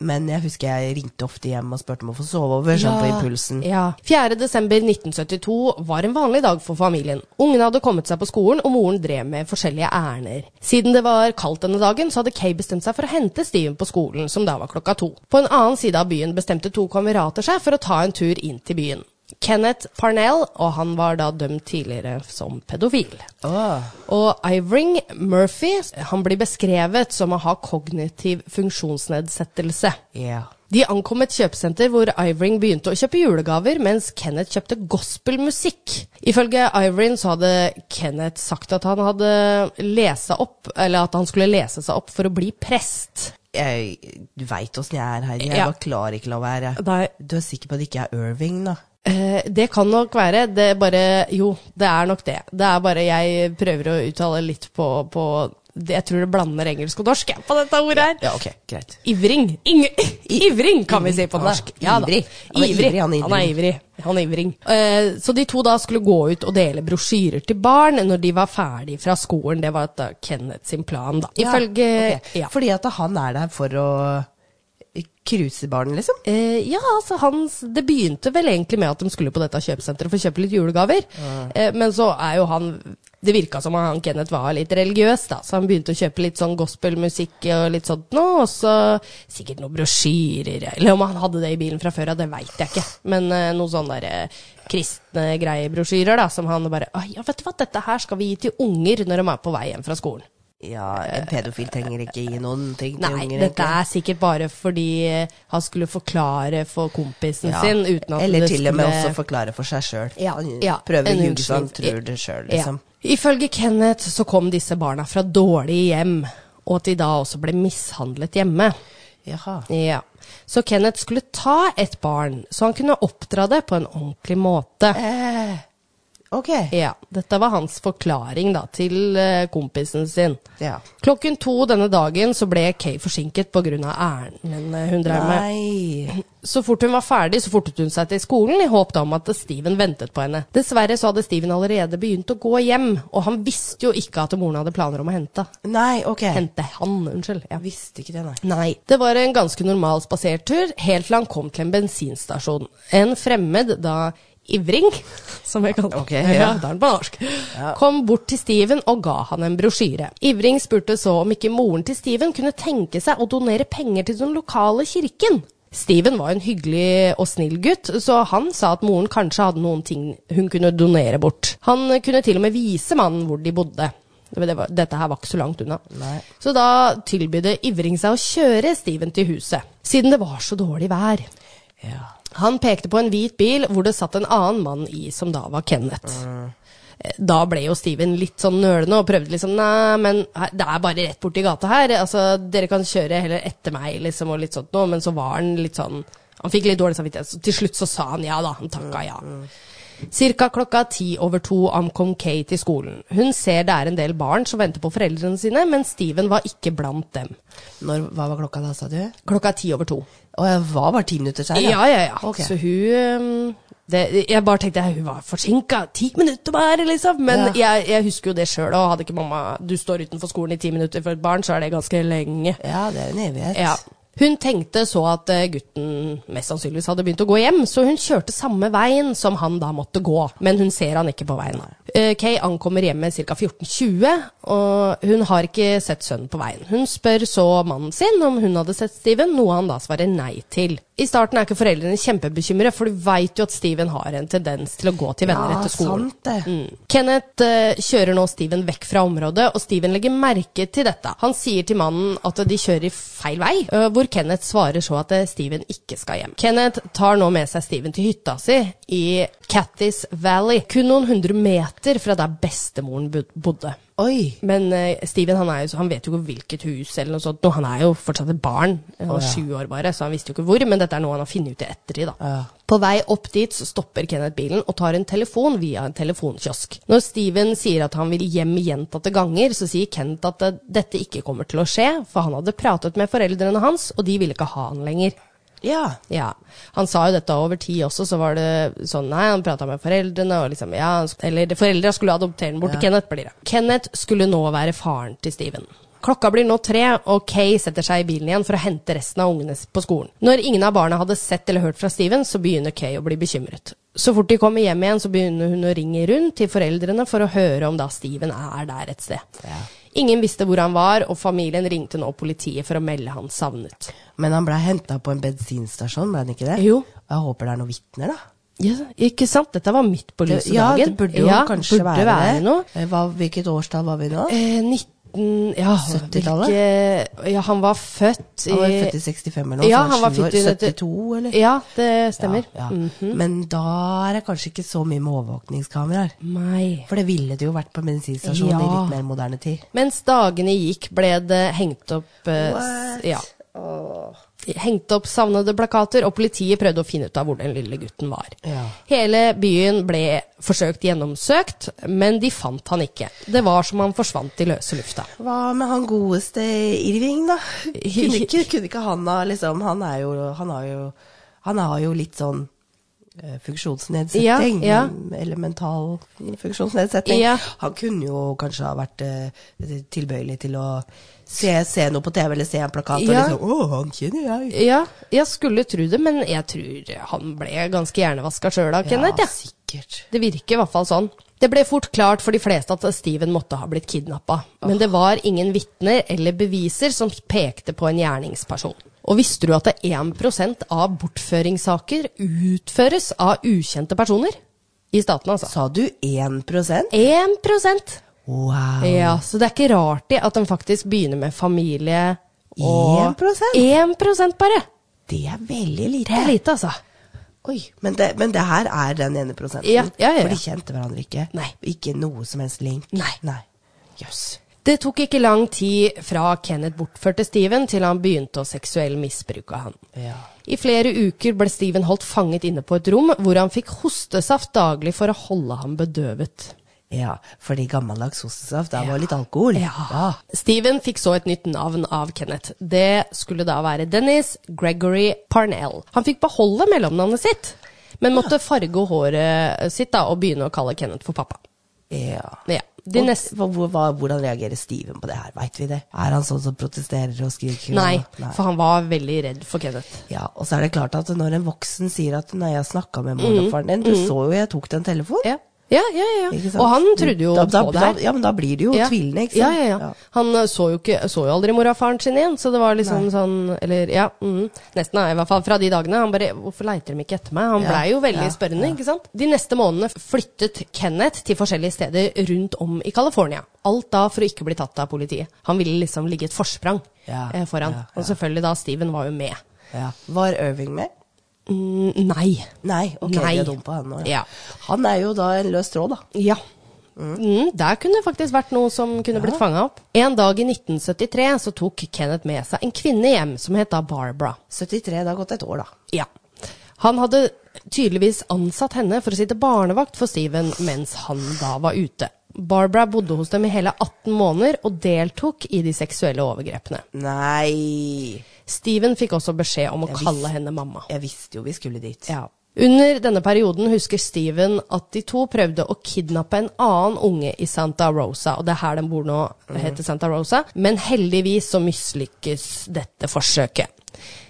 [SPEAKER 2] Men jeg husker jeg ringte ofte hjem og spurte om å få sove over, sånn på impulsen.
[SPEAKER 1] Ja. 4. desember 1972 var en vanlig dag for familien. Ungene hadde kommet seg på skolen, og moren drev med forskjellige ærender. Siden det var kaldt denne dagen, så hadde Kay bestemt seg for å hente Steven på skolen, som da var klokka to. På en annen side av byen bestemte to kamerater seg for å ta en tur inn til byen. Kenneth Parnell, og han var da dømt tidligere som pedofil.
[SPEAKER 2] Åh.
[SPEAKER 1] Og Ivring Murphy, han blir beskrevet som å ha kognitiv funksjonsnedsettelse.
[SPEAKER 2] Ja.
[SPEAKER 1] De ankom et kjøpesenter hvor Ivring begynte å kjøpe julegaver, mens Kenneth kjøpte gospelmusikk. Ifølge Ivring så hadde Kenneth sagt at han hadde lesa opp, eller at han skulle lese seg opp for å bli prest.
[SPEAKER 2] Jeg, du veit åssen jeg er, Heidi. Jeg
[SPEAKER 1] Ja.
[SPEAKER 2] bare klarer ikke la være.
[SPEAKER 1] Nei.
[SPEAKER 2] Du er sikker på at det ikke er Irving, da?
[SPEAKER 1] Eh, det kan nok være. Det er bare Jo, det er nok det. Det er bare jeg prøver å uttale litt på, på det, Jeg tror det blander engelsk og norsk jeg, på dette ordet her.
[SPEAKER 2] Ja, ok, greit.
[SPEAKER 1] Ivring. Inge, ivring, kan vi si på norsk. Ja, da.
[SPEAKER 2] Ivrig. Han er
[SPEAKER 1] Ivrig.
[SPEAKER 2] ivrig, han er
[SPEAKER 1] Han er ivrig. Han er ivring. Eh, så de to da skulle gå ut og dele brosjyrer til barn når de var ferdig fra skolen. Det var da Kenneth sin plan, da. Ifølge
[SPEAKER 2] ja, ok.
[SPEAKER 1] ja.
[SPEAKER 2] Fordi at han er der for å cruise barn, liksom?
[SPEAKER 1] Eh, ja, altså hans, Det begynte vel egentlig med at de skulle på dette kjøpesenteret for å kjøpe litt julegaver. Eh, men så er jo han Det virka som han Kenneth var litt religiøs, da. Så han begynte å kjøpe litt sånn gospelmusikk og litt sånt nå. Og så sikkert noen brosjyrer. Eller om han hadde det i bilen fra før av, det veit jeg ikke. Men eh, noen sånne der, eh, kristne greiebrosjyrer da, som han bare «Å, Ja, vet du hva, dette her skal vi gi til unger når de er på vei hjem fra skolen.
[SPEAKER 2] Ja, en pedofil trenger ikke gi noen ting til
[SPEAKER 1] Nei,
[SPEAKER 2] unger.
[SPEAKER 1] dette er sikkert bare fordi eh, han skulle forklare for kompisen sin uten at
[SPEAKER 2] Eller
[SPEAKER 1] det
[SPEAKER 2] til og med
[SPEAKER 1] skulle-
[SPEAKER 2] også forklare for seg sjøl.
[SPEAKER 1] Ja, ja,
[SPEAKER 2] Prøver
[SPEAKER 1] en
[SPEAKER 2] å ljuge så han
[SPEAKER 1] unnskyldning.
[SPEAKER 2] tror det sjøl, liksom.
[SPEAKER 1] Ja. Ifølge Kenneth så kom disse barna fra dårlige hjem, og at de da også ble mishandlet hjemme.
[SPEAKER 2] Jaha.
[SPEAKER 1] Ja. Så Kenneth skulle ta et barn, så han kunne oppdra det på en ordentlig måte.
[SPEAKER 2] Eh, ok.
[SPEAKER 1] Ja, dette var hans forklaring da, til eh, kompisen sin.
[SPEAKER 2] Ja.
[SPEAKER 1] Klokken to denne dagen så ble Kay forsinket pga. ærenden eh, hun drev med.
[SPEAKER 2] Nei.
[SPEAKER 1] Så fort hun var ferdig, så fortet hun seg til skolen i håp da om at Steven ventet på henne. Dessverre så hadde Steven allerede begynt å gå hjem, og han visste jo ikke at moren hadde planer om å hente.
[SPEAKER 2] Nei, ok.
[SPEAKER 1] Hente han, unnskyld. Ja.
[SPEAKER 2] Jeg visste ikke det, nei.
[SPEAKER 1] Nei. Det var en ganske normal spasertur, helt til han kom til en bensinstasjon. En fremmed, da Ivring, som jeg kaller
[SPEAKER 2] Ok,
[SPEAKER 1] ja.
[SPEAKER 2] ja.
[SPEAKER 1] det er han på norsk, kom bort til Steven og ga han en brosjyre. Ivring spurte så om ikke moren til Steven kunne tenke seg å donere penger til den lokale kirken. Steven var en hyggelig og snill gutt, så han sa at moren kanskje hadde noen ting hun kunne donere bort. Han kunne til og med vise mannen hvor de bodde. Det var, dette her var ikke så langt unna.
[SPEAKER 2] Nei.
[SPEAKER 1] Så da tilbydde Ivring seg å kjøre Steven til huset, siden det var så dårlig vær.
[SPEAKER 2] Ja.
[SPEAKER 1] Han pekte på en hvit bil hvor det satt en annen mann i, som da var Kenneth. Eh, Da ble jo Steven litt sånn nølende og prøvde liksom Nei, men her- det er bare rett borti gata her. Altså, dere kan kjøre heller etter meg, liksom, og litt sånt noe. Men så var han litt sånn Han fikk litt dårlig samvittighet. Så til slutt så sa han ja da. Han takka ja. Cirka klokka ti over to ankom Kay til skolen. Hun ser det er en del barn som venter på foreldrene sine, men Steven var ikke blant dem.
[SPEAKER 2] Når, hva var klokka da, sa du? Å,
[SPEAKER 1] Klokka ti over to.
[SPEAKER 2] jeg var bare ti minutter sein.
[SPEAKER 1] Ja, ja, ja.
[SPEAKER 2] Ok.
[SPEAKER 1] Så hun um, det, Jeg bare tenkte hun var forsinka. Ti minutter bare, liksom. Men
[SPEAKER 2] Ja.
[SPEAKER 1] jeg, jeg husker jo det sjøl, og hadde ikke mamma Du står utenfor skolen i ti minutter for et barn, så er det ganske lenge.
[SPEAKER 2] Ja, det er en evighet.
[SPEAKER 1] Ja. Hun tenkte så at eh, gutten mest sannsynligvis hadde begynt å gå hjem, så hun kjørte samme veien som han da måtte gå, men hun ser han ikke på veien. Eh, Kay ankommer hjemmet ca. 14.20, og hun har ikke sett sønnen på veien. Hun spør så mannen sin om hun hadde sett Steven, noe han da svarer nei til. I starten er ikke foreldrene kjempebekymret, for du veit jo at Steven har en tendens til å gå til venner
[SPEAKER 2] Ja,
[SPEAKER 1] etter skolen.
[SPEAKER 2] Ah, sant det.
[SPEAKER 1] Mm. Kenneth eh, kjører nå Steven vekk fra området, og Steven legger merke til dette. Han sier til mannen at de kjører i feil vei, eh, hvor Kenneth svarer så at eh, Steven ikke skal hjem. Kenneth tar nå med seg Steven til hytta si i Cattis Valley, kun noen hundre meter fra der bestemoren bod- bodde.
[SPEAKER 2] Oi.
[SPEAKER 1] Men eh, Steven han, er jo, så- han vet jo ikke hvilket hus eller noe sånt. Nå, han er jo fortsatt et barn. Han var
[SPEAKER 2] Å, ja.
[SPEAKER 1] sju år bare, så han visste jo ikke hvor. Men dette er noe han har funnet ut i ettertid. da.
[SPEAKER 2] Ja.
[SPEAKER 1] På vei opp dit så stopper Kenneth bilen og tar en telefon via en telefonkiosk. Når Steven sier at han vil hjem gjentatte ganger, så sier Kenneth at eh, dette ikke kommer til å skje, for han hadde pratet med foreldrene hans, og de ville ikke ha han lenger.
[SPEAKER 2] Ja.
[SPEAKER 1] Ja. Han sa jo dette over tid også, så var det sånn Nei, han prata med foreldrene, og liksom Ja, han sk- eller foreldra skulle adoptere den bort til Kenneth, blir det. Kenneth skulle nå være faren til Steven. Klokka blir nå tre, og Kay setter seg i bilen igjen for å hente resten av ungene s- på skolen. Når ingen av barna hadde sett eller hørt fra Steven, så begynner Kay å bli bekymret. Så fort de kommer hjem igjen, så begynner hun å ringe rundt til foreldrene for å høre om da Steven er der et sted.
[SPEAKER 2] Ja.
[SPEAKER 1] Ingen visste hvor han var, og familien ringte nå politiet for å melde han savnet.
[SPEAKER 2] Men han blei henta på en bensinstasjon, ble han ikke det?
[SPEAKER 1] Jo.
[SPEAKER 2] Jeg håper det er noen vitner, da.
[SPEAKER 1] Ja, ikke sant? Dette var midt på lyse
[SPEAKER 2] Ja,
[SPEAKER 1] dagen.
[SPEAKER 2] det burde jo
[SPEAKER 1] Ja,
[SPEAKER 2] kanskje
[SPEAKER 1] burde
[SPEAKER 2] være, det.
[SPEAKER 1] noe.
[SPEAKER 2] Eh, Hva, hvilket årstall var vi nå?
[SPEAKER 1] Eh, 19... Ja,
[SPEAKER 2] 70-tallet?
[SPEAKER 1] hvilke- Ja, han var født i
[SPEAKER 2] Han var født i 65 eller noe,
[SPEAKER 1] Ja,
[SPEAKER 2] så
[SPEAKER 1] han var
[SPEAKER 2] sju år,
[SPEAKER 1] født i
[SPEAKER 2] 72 eller?
[SPEAKER 1] Ja, det stemmer. Mm, Mhm.
[SPEAKER 2] Ja, ja. Men da er det kanskje ikke så mye med overvåkningskameraer.
[SPEAKER 1] Nei.
[SPEAKER 2] For det ville det jo vært på bensinstasjonen i
[SPEAKER 1] Ja.
[SPEAKER 2] litt mer moderne tid.
[SPEAKER 1] Mens dagene gikk, ble det hengt opp eh, s-
[SPEAKER 2] What?
[SPEAKER 1] Ja. Hengt opp savnede plakater, og politiet prøvde å finne ut av hvor den lille gutten var.
[SPEAKER 2] Ja.
[SPEAKER 1] Hele byen ble forsøkt gjennomsøkt, men de fant han ikke. Det var som han forsvant i løse lufta.
[SPEAKER 2] Hva med han godeste Irving, da? Kunne ikke, kunne ikke han ha liksom Han er jo Han har jo, han har jo litt sånn eh, funksjonsnedsetting.
[SPEAKER 1] Ja, ja.
[SPEAKER 2] Eller mental funksjonsnedsetting.
[SPEAKER 1] Ja.
[SPEAKER 2] Han kunne jo kanskje ha vært eh, tilbøyelig til å se, se noe på TV eller se en plakat
[SPEAKER 1] Ja.
[SPEAKER 2] og liksom Å, han kjenner jeg.
[SPEAKER 1] Ja, jeg skulle tro det, men jeg tror han ble ganske hjernevaska sjøl av Kenneth. Ja.
[SPEAKER 2] sikkert.
[SPEAKER 1] Det virker i hvert fall sånn. Det ble fort klart for de fleste at Steven måtte ha blitt kidnappa, men det var ingen vitner eller beviser som pekte på en gjerningsperson. Og visste du at det er 1 av bortføringssaker utføres av ukjente personer? I staten, altså.
[SPEAKER 2] Sa du 1
[SPEAKER 1] 1
[SPEAKER 2] Wow.
[SPEAKER 1] Ja, så det er ikke rart de at de faktisk begynner med familie og
[SPEAKER 2] 1%?
[SPEAKER 1] 1 bare.
[SPEAKER 2] Det er veldig
[SPEAKER 1] Det
[SPEAKER 2] lite.
[SPEAKER 1] er lite, altså.
[SPEAKER 2] Oi, men det, men det her er den ene prosenten.
[SPEAKER 1] Ja, ja, ja,
[SPEAKER 2] For
[SPEAKER 1] ja.
[SPEAKER 2] de kjente hverandre ikke.
[SPEAKER 1] Nei.
[SPEAKER 2] Ikke noe som helst link.
[SPEAKER 1] Nei.
[SPEAKER 2] Jøss.
[SPEAKER 1] Det tok ikke lang tid fra Kenneth bortførte Steven til han begynte å seksuell misbruke han.
[SPEAKER 2] Ja.
[SPEAKER 1] I flere uker ble Steven holdt fanget inne på et rom hvor han fikk hostesaft daglig for å holde ham bedøvet.
[SPEAKER 2] ja. Fordi gammeldags hostesaft, der var litt alkohol.
[SPEAKER 1] Ja. Steven fikk så et nytt navn av Kenneth. Det skulle da være Dennis Gregory Parnell. Han fikk beholde mellomnavnet sitt, men måtte farge håret sitt da, og begynne å kalle Kenneth for pappa.
[SPEAKER 2] ja.
[SPEAKER 1] Ja. De
[SPEAKER 2] Og
[SPEAKER 1] neste...
[SPEAKER 2] hva- hvor- hva- hvordan reagerer Steven på det her, veit vi det? Er han sånn som protesterer og skriker? og-
[SPEAKER 1] Nei,
[SPEAKER 2] Nei.
[SPEAKER 1] for han var veldig redd for Kenneth.
[SPEAKER 2] Ja, og så er det klart at når en voksen sier at 'nei, jeg snakka med mor og faren din', du så jo jeg tok den telefonen.
[SPEAKER 1] Mm. Ja. Ja, ja, ja.
[SPEAKER 2] Ikke sant?
[SPEAKER 1] Og han trodde jo
[SPEAKER 2] da, da,
[SPEAKER 1] på det her.
[SPEAKER 2] Da, ja, men da blir det jo tvilende, ikke
[SPEAKER 1] Ja,
[SPEAKER 2] sant?
[SPEAKER 1] ja, ja. Han eh, så jo, ikke, så jo aldri mora og faren sin igjen, så det var liksom
[SPEAKER 2] Nei.
[SPEAKER 1] sånn Eller ja, mm, nesten da, i hvert fall fra de dagene. Han bare 'Hvorfor leiter de ikke etter meg?' Han
[SPEAKER 2] Ja,
[SPEAKER 1] blei jo veldig
[SPEAKER 2] ja,
[SPEAKER 1] spørrende, ikke sant? De neste månedene flyttet Kenneth til forskjellige steder rundt om i California. Alt da for å ikke bli tatt av politiet. Han ville liksom ligge et forsprang
[SPEAKER 2] Ja,
[SPEAKER 1] eh, foran.
[SPEAKER 2] ja, ja.
[SPEAKER 1] Og selvfølgelig da, Steven var jo med.
[SPEAKER 2] Ja. Var Irving med?
[SPEAKER 1] Mm, nei.
[SPEAKER 2] Nei. ok,
[SPEAKER 1] Nei.
[SPEAKER 2] de er dum på Han nå,
[SPEAKER 1] Ja.
[SPEAKER 2] Han er jo da en løs tråd, da.
[SPEAKER 1] Ja. Mm, der kunne det faktisk vært noe som kunne blitt fanga opp. En dag i 1973 så tok Kenneth med seg en kvinne hjem som het da Barbara.
[SPEAKER 2] 73, det har gått et år, da.
[SPEAKER 1] Ja. Han hadde tydeligvis ansatt henne for å sitte barnevakt for Steven mens han da var ute. Barbara bodde hos dem i hele 18 måneder og deltok i de seksuelle overgrepene.
[SPEAKER 2] Nei
[SPEAKER 1] Steven fikk også beskjed om å
[SPEAKER 2] Jeg visste-
[SPEAKER 1] kalle henne mamma.
[SPEAKER 2] Jeg visste jo vi skulle dit.
[SPEAKER 1] Ja. Under denne perioden husker Steven at de to prøvde å kidnappe en annen unge i Santa Rosa, og det er her den bor nå, heter Santa Rosa, men heldigvis så mislykkes dette forsøket.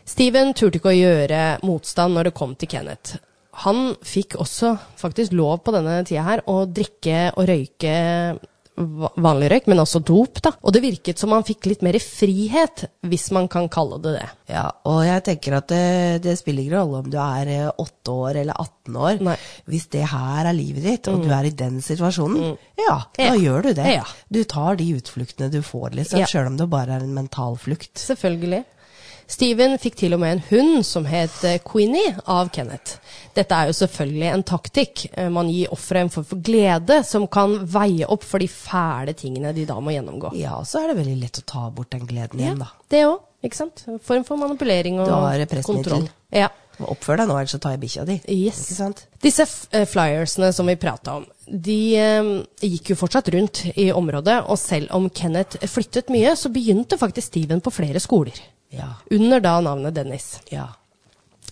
[SPEAKER 1] Steven turte ikke å gjøre motstand når det kom til Kenneth. Han fikk også faktisk lov på denne tida her å drikke og røyke va- vanlig røyk, men også dop, da. Og det virket som han fikk litt mer frihet, hvis man kan kalle det det.
[SPEAKER 2] Ja, og jeg tenker at det, det spiller ikke rolle om du er eh, 8 år eller 18 år.
[SPEAKER 1] Nei. Mm.
[SPEAKER 2] Hvis det her er livet ditt, og du er i den situasjonen, ja, da
[SPEAKER 1] Ja.
[SPEAKER 2] gjør du det.
[SPEAKER 1] Ja.
[SPEAKER 2] Du tar de utfluktene du får, liksom,
[SPEAKER 1] Ja.
[SPEAKER 2] sjøl om det bare er en mental flukt.
[SPEAKER 1] Selvfølgelig. Steven fikk til og med en hund som het eh, Queenie av Kenneth. Dette er jo selvfølgelig en taktikk. Eh, Man gir offeret en form for glede som kan veie opp for de fæle tingene de da må gjennomgå.
[SPEAKER 2] Ja, og så er det veldig lett å ta bort den gleden igjen, da.
[SPEAKER 1] Det òg, ikke sant? En form for manipulering og
[SPEAKER 2] Du har pressmiddel.
[SPEAKER 1] kontroll. Ja.
[SPEAKER 2] Oppfør deg nå, ellers så tar jeg bikkja di.
[SPEAKER 1] Yes.
[SPEAKER 2] Ikke sant?
[SPEAKER 1] Disse f- eh, flyersene som vi prata om, de eh, gikk jo fortsatt rundt i området, og selv om Kenneth flyttet mye, så begynte faktisk Steven på flere skoler.
[SPEAKER 2] Ja.
[SPEAKER 1] Under da navnet Dennis.
[SPEAKER 2] Ja.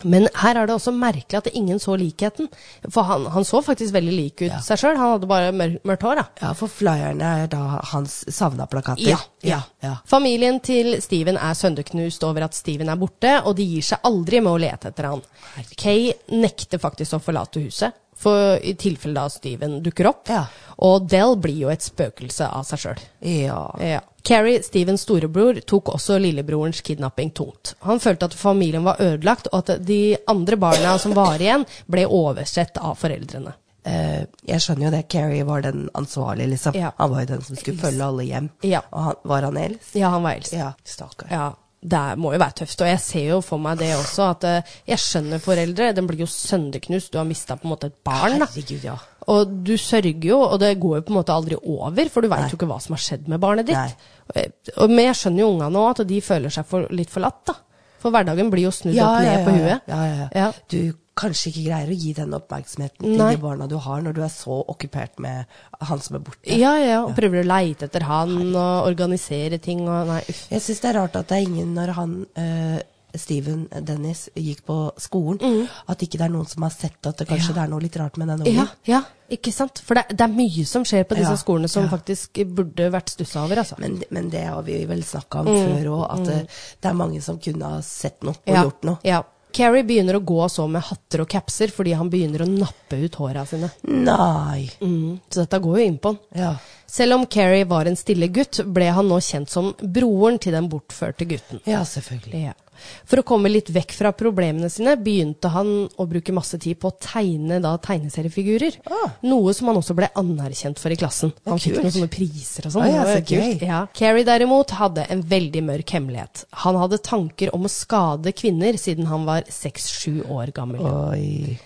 [SPEAKER 1] Men her er det også merkelig at ingen så likheten. For han, han så faktisk veldig lik ut
[SPEAKER 2] Ja.
[SPEAKER 1] seg sjøl. Han hadde bare mør mørkt hår, da.
[SPEAKER 2] ja, for flyerne er da hans savna plakater. ja. ja.
[SPEAKER 1] Familien til Steven er sønderknust over at Steven er borte, og de gir seg aldri med å lete etter han.
[SPEAKER 2] Herregud.
[SPEAKER 1] Kay nekter faktisk å forlate huset, for i tilfelle da Steven dukker opp.
[SPEAKER 2] Ja.
[SPEAKER 1] Og Del blir jo et spøkelse av seg sjøl.
[SPEAKER 2] ja.
[SPEAKER 1] Ja. Carrie, Stevens storebror, tok også lillebrorens kidnapping tungt. Han følte at familien var ødelagt, og at de andre barna som var igjen, ble oversett av foreldrene.
[SPEAKER 2] Eh, jeg skjønner jo det, Carrie var den ansvarlige, liksom.
[SPEAKER 1] Ja.
[SPEAKER 2] Han var jo den som skulle følge alle hjem.
[SPEAKER 1] Ja.
[SPEAKER 2] Og han, var han eldst?
[SPEAKER 1] Ja, han var eldst.
[SPEAKER 2] Ja, stakkar.
[SPEAKER 1] Ja, det må jo være tøft. Og jeg ser jo for meg det også, at eh, jeg skjønner foreldre. Den blir jo sønderknust. Du har mista på en måte et barn, da.
[SPEAKER 2] Herregud, ja.
[SPEAKER 1] Og du sørger jo, og det går jo på en måte aldri over, for du veit
[SPEAKER 2] Nei.
[SPEAKER 1] jo ikke hva som har skjedd med barnet
[SPEAKER 2] Nei.
[SPEAKER 1] ditt. Og- og- Men jeg skjønner jo ungene òg, at de føler seg for, litt forlatt, da. For hverdagen blir jo snudd opp ned på huet.
[SPEAKER 2] Ja, ja, ja.
[SPEAKER 1] Ja.
[SPEAKER 2] Du kanskje ikke greier å gi den oppmerksomheten til
[SPEAKER 1] Nei.
[SPEAKER 2] de barna du har, når du er så okkupert med han som er borte.
[SPEAKER 1] Ja, ja, ja, og prøver å leite etter han og organisere ting og Nei, uff.
[SPEAKER 2] Jeg syns det er rart at det er ingen når han eh, Steven Dennis gikk på skolen, at ikke det er noen som har sett at det kanskje det er noe litt rart med den ungen.
[SPEAKER 1] Mm. Ja, ja, ikke sant? For det, det er mye som skjer på disse
[SPEAKER 2] Ja,
[SPEAKER 1] skolene som
[SPEAKER 2] ja.
[SPEAKER 1] faktisk burde vært stussa over, altså.
[SPEAKER 2] Men, men det har vi vel snakka om før òg, at eh, det er mange som kunne ha sett noe og
[SPEAKER 1] Mm. ja,
[SPEAKER 2] gjort noe.
[SPEAKER 1] Ja. Carrie begynner å gå så med hatter og capser fordi han begynner å nappe ut håra sine.
[SPEAKER 2] Nei.
[SPEAKER 1] Så dette går jo inn på han.
[SPEAKER 2] Ja.
[SPEAKER 1] Selv om Carrie var en stille gutt, ble han nå kjent som broren til den bortførte gutten.
[SPEAKER 2] ja, selvfølgelig.
[SPEAKER 1] Ja. For å komme litt vekk fra problemene sine, begynte han å bruke masse tid på å tegne da, tegneseriefigurer.
[SPEAKER 2] Ah.
[SPEAKER 1] Noe som han også ble anerkjent for i klassen. Han fikk
[SPEAKER 2] kult.
[SPEAKER 1] noen sånne priser og sånn.
[SPEAKER 2] Ah, ja,
[SPEAKER 1] Det var
[SPEAKER 2] så
[SPEAKER 1] kult.
[SPEAKER 2] gøy.
[SPEAKER 1] Ja. Carrie derimot hadde en veldig mørk hemmelighet. Han hadde tanker om å skade kvinner siden han var seks-sju år gammel.
[SPEAKER 2] Oi.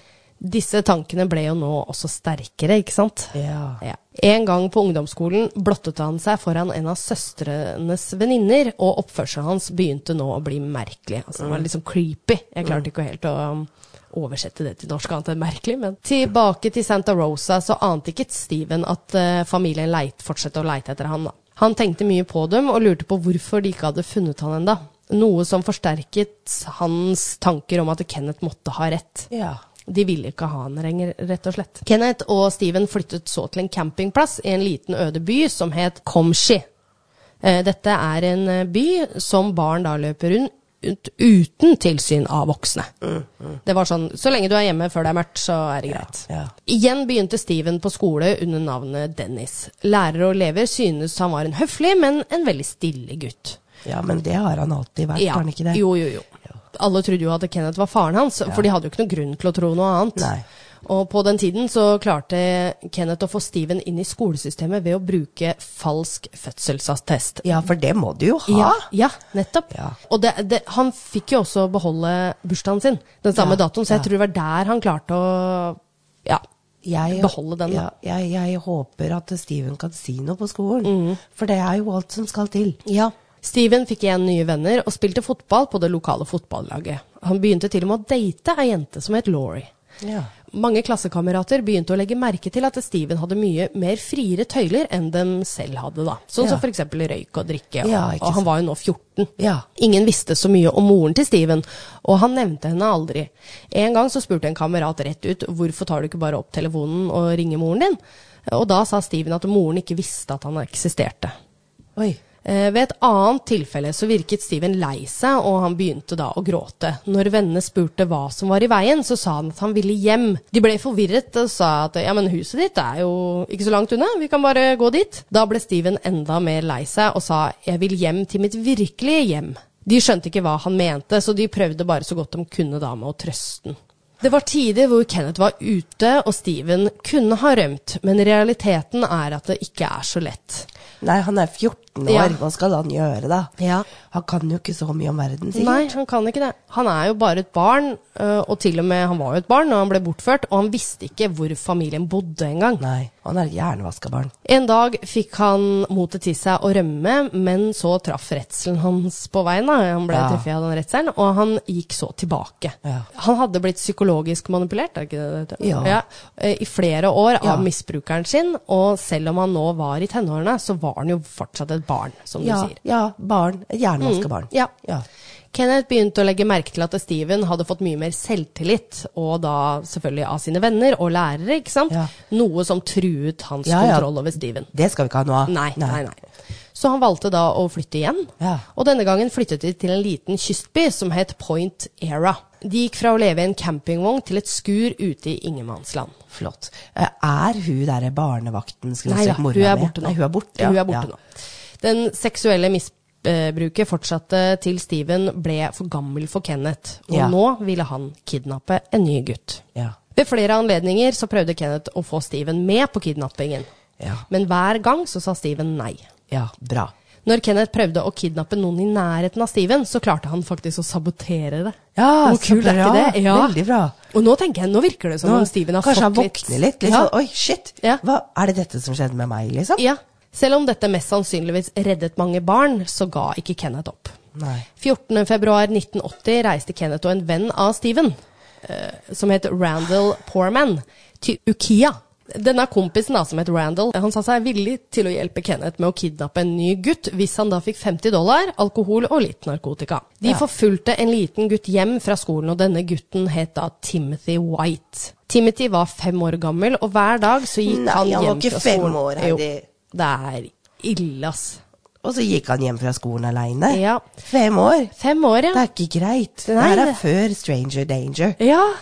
[SPEAKER 1] Disse tankene ble jo nå også sterkere, ikke sant?
[SPEAKER 2] Ja.
[SPEAKER 1] Ja. En gang på ungdomsskolen blottet han seg foran en av søstrenes venninner, og oppførselen hans begynte nå å bli merkelig. Altså, han var liksom creepy. Jeg klarte ikke helt å um, oversette det til norsk annet enn merkelig, men Tilbake til Santa Rosa, så ante ikke Steven at eh, familien leit, fortsatte å leite etter han. da. Han tenkte mye på dem, og lurte på hvorfor de ikke hadde funnet han enda. Noe som forsterket hans tanker om at Kenneth måtte ha rett.
[SPEAKER 2] Ja.
[SPEAKER 1] De ville ikke ha han lenger, rett og slett. Kenneth og Steven flyttet så til en campingplass i en liten øde by som het Komshi. Eh, Dette er en eh, by som barn da løper rundt, ut, uten tilsyn av voksne. Det var sånn Så lenge du er hjemme før det er mørkt, så er det greit.
[SPEAKER 2] ja.
[SPEAKER 1] Igjen begynte Steven på skole under navnet Dennis. Lærere og elever synes han var en høflig, men en veldig stille gutt.
[SPEAKER 2] Ja, men det har han alltid vært, har han ikke det?
[SPEAKER 1] Jo, jo, jo. Alle trodde jo at Kenneth var faren hans, for de hadde jo ikke noen grunn til å tro noe annet.
[SPEAKER 2] Nei.
[SPEAKER 1] Og på den tiden så klarte Kenneth å få Steven inn i skolesystemet ved å bruke falsk fødselsattest.
[SPEAKER 2] Ja, for det må du jo ha.
[SPEAKER 1] Ja, ja, nettopp.
[SPEAKER 2] Ja.
[SPEAKER 1] Og det, det, han fikk jo også beholde bursdagen sin, den samme
[SPEAKER 2] Ja,
[SPEAKER 1] datoen, så jeg
[SPEAKER 2] ja.
[SPEAKER 1] tror det var der han klarte å ja,
[SPEAKER 2] Jeg,
[SPEAKER 1] beholde den.
[SPEAKER 2] Ja,
[SPEAKER 1] da.
[SPEAKER 2] jeg, jeg håper at Steven kan si noe på
[SPEAKER 1] Mm.
[SPEAKER 2] skolen, for det er jo alt som skal til.
[SPEAKER 1] Ja. Steven fikk igjen nye venner og spilte fotball på det lokale fotballaget. Han begynte til og med å date ei jente som het Laurie.
[SPEAKER 2] Ja.
[SPEAKER 1] Mange klassekamerater begynte å legge merke til at Steven hadde mye mer friere tøyler enn dem selv hadde, da. Sånn
[SPEAKER 2] Ja.
[SPEAKER 1] som f.eks. røyk og drikke, og,
[SPEAKER 2] Ja, ikke
[SPEAKER 1] og han var jo nå 14.
[SPEAKER 2] Ja.
[SPEAKER 1] Ingen visste så mye om moren til Steven, og han nevnte henne aldri. En gang så spurte en kamerat rett ut hvorfor tar du ikke bare opp telefonen og ringer moren din? Og da sa Steven at moren ikke visste at han eksisterte.
[SPEAKER 2] Oi.
[SPEAKER 1] Eh, Ved et annet tilfelle så virket Steven lei seg, og han begynte da å gråte. Når vennene spurte hva som var i veien, så sa han at han ville hjem. De ble forvirret og sa at ja, men huset ditt er jo ikke så langt unna, vi kan bare gå dit. Da ble Steven enda mer lei seg og sa jeg vil hjem til mitt virkelige hjem. De skjønte ikke hva han mente, så de prøvde bare så godt de kunne da med å trøste han. Det var tider hvor Kenneth var ute og Steven kunne ha rømt, men realiteten er at det ikke er så lett.
[SPEAKER 2] Nei, han er 14 år,
[SPEAKER 1] Ja.
[SPEAKER 2] hva skal han gjøre da?
[SPEAKER 1] Ja.
[SPEAKER 2] Han kan jo ikke så mye om verden, sikkert.
[SPEAKER 1] Nei, han kan ikke det. Han er jo bare et barn, øh, og til og med han var jo et barn når han ble bortført, og han visste ikke hvor familien bodde engang.
[SPEAKER 2] Nei, han er et hjernevaska barn.
[SPEAKER 1] En dag fikk han motet til seg å rømme, men så traff redselen hans på veien. Da. Han ble
[SPEAKER 2] Ja.
[SPEAKER 1] truffet av den redselen, og han gikk så tilbake.
[SPEAKER 2] Ja.
[SPEAKER 1] Han hadde blitt psykologisk manipulert er ikke det det heter?
[SPEAKER 2] Ja.
[SPEAKER 1] eh, i flere år
[SPEAKER 2] Ja.
[SPEAKER 1] av misbrukeren sin, og selv om han nå var i tenårene, så var han jo fortsatt et barn, som
[SPEAKER 2] Ja,
[SPEAKER 1] du sier.
[SPEAKER 2] ja, barn. Et hjernevaska barn.
[SPEAKER 1] ja.
[SPEAKER 2] Mm. ja.
[SPEAKER 1] Kenneth begynte å legge merke til at Steven hadde fått mye mer selvtillit, og da selvfølgelig av sine venner og lærere, ikke sant?
[SPEAKER 2] Ja.
[SPEAKER 1] Noe som truet hans
[SPEAKER 2] Ja, ja.
[SPEAKER 1] kontroll over Steven.
[SPEAKER 2] Det skal vi ikke ha noe av.
[SPEAKER 1] Nei, nei, nei. Så han valgte da å flytte igjen,
[SPEAKER 2] Ja.
[SPEAKER 1] og denne gangen flyttet de til en liten kystby som het Point Era. De gikk fra å leve i en campingvogn til et skur ute i ingenmannsland.
[SPEAKER 2] Flott. Eh, Er hun der barnevakten, skulle
[SPEAKER 1] Nei
[SPEAKER 2] jeg
[SPEAKER 1] da, hun
[SPEAKER 2] si, mora
[SPEAKER 1] er
[SPEAKER 2] mi?
[SPEAKER 1] borte nå.
[SPEAKER 2] Nei, hun er borte, ja.
[SPEAKER 1] Hun er borte
[SPEAKER 2] ja.
[SPEAKER 1] nå. Den seksuelle misbruket fortsatte til Steven ble for gammel for Kenneth, og
[SPEAKER 2] Ja.
[SPEAKER 1] nå ville han kidnappe en ny gutt.
[SPEAKER 2] Ja.
[SPEAKER 1] Ved flere anledninger så prøvde Kenneth å få Steven med på kidnappingen,
[SPEAKER 2] Ja.
[SPEAKER 1] men hver gang så sa Steven nei.
[SPEAKER 2] ja, bra.
[SPEAKER 1] Når Kenneth prøvde å kidnappe noen i nærheten av Steven, så klarte han faktisk å sabotere det.
[SPEAKER 2] Ja,
[SPEAKER 1] Hvor
[SPEAKER 2] så
[SPEAKER 1] kult er
[SPEAKER 2] bra.
[SPEAKER 1] ikke det? Ja.
[SPEAKER 2] Veldig bra.
[SPEAKER 1] Og nå tenker jeg, nå virker det som
[SPEAKER 2] Nå-
[SPEAKER 1] om Steven har
[SPEAKER 2] kanskje han
[SPEAKER 1] fått litt
[SPEAKER 2] våkner litt. litt
[SPEAKER 1] Ja.
[SPEAKER 2] sånn, Oi, shit!
[SPEAKER 1] Ja.
[SPEAKER 2] Hva, er det dette som skjedde med meg, liksom?
[SPEAKER 1] Ja. Selv om dette mest sannsynligvis reddet mange barn, så ga ikke Kenneth opp.
[SPEAKER 2] Nei.
[SPEAKER 1] 14.2.1980 reiste Kenneth og en venn av Steven, eh, som het Randall Poorman, til Ukiah. Denne kompisen da, som het Randall, han sa seg villig til å hjelpe Kenneth med å kidnappe en ny gutt, hvis han da fikk 50 dollar, alkohol og litt narkotika. De
[SPEAKER 2] Ja.
[SPEAKER 1] forfulgte en liten gutt hjem fra skolen, og denne gutten het da Timothy White. Timothy var fem år gammel, og hver dag så gikk
[SPEAKER 2] Nei,
[SPEAKER 1] han
[SPEAKER 2] han var
[SPEAKER 1] hjem
[SPEAKER 2] ikke
[SPEAKER 1] fra
[SPEAKER 2] fem
[SPEAKER 1] skolen.
[SPEAKER 2] år, Heidi.
[SPEAKER 1] Jo, det er ille, ass.
[SPEAKER 2] Og så gikk han hjem fra skolen aleine.
[SPEAKER 1] Ja.
[SPEAKER 2] Fem år!
[SPEAKER 1] Fem år,
[SPEAKER 2] Det
[SPEAKER 1] ja.
[SPEAKER 2] er ikke greit.
[SPEAKER 1] Nei,
[SPEAKER 2] det her er
[SPEAKER 1] det-
[SPEAKER 2] før Stranger Danger.
[SPEAKER 1] Ja,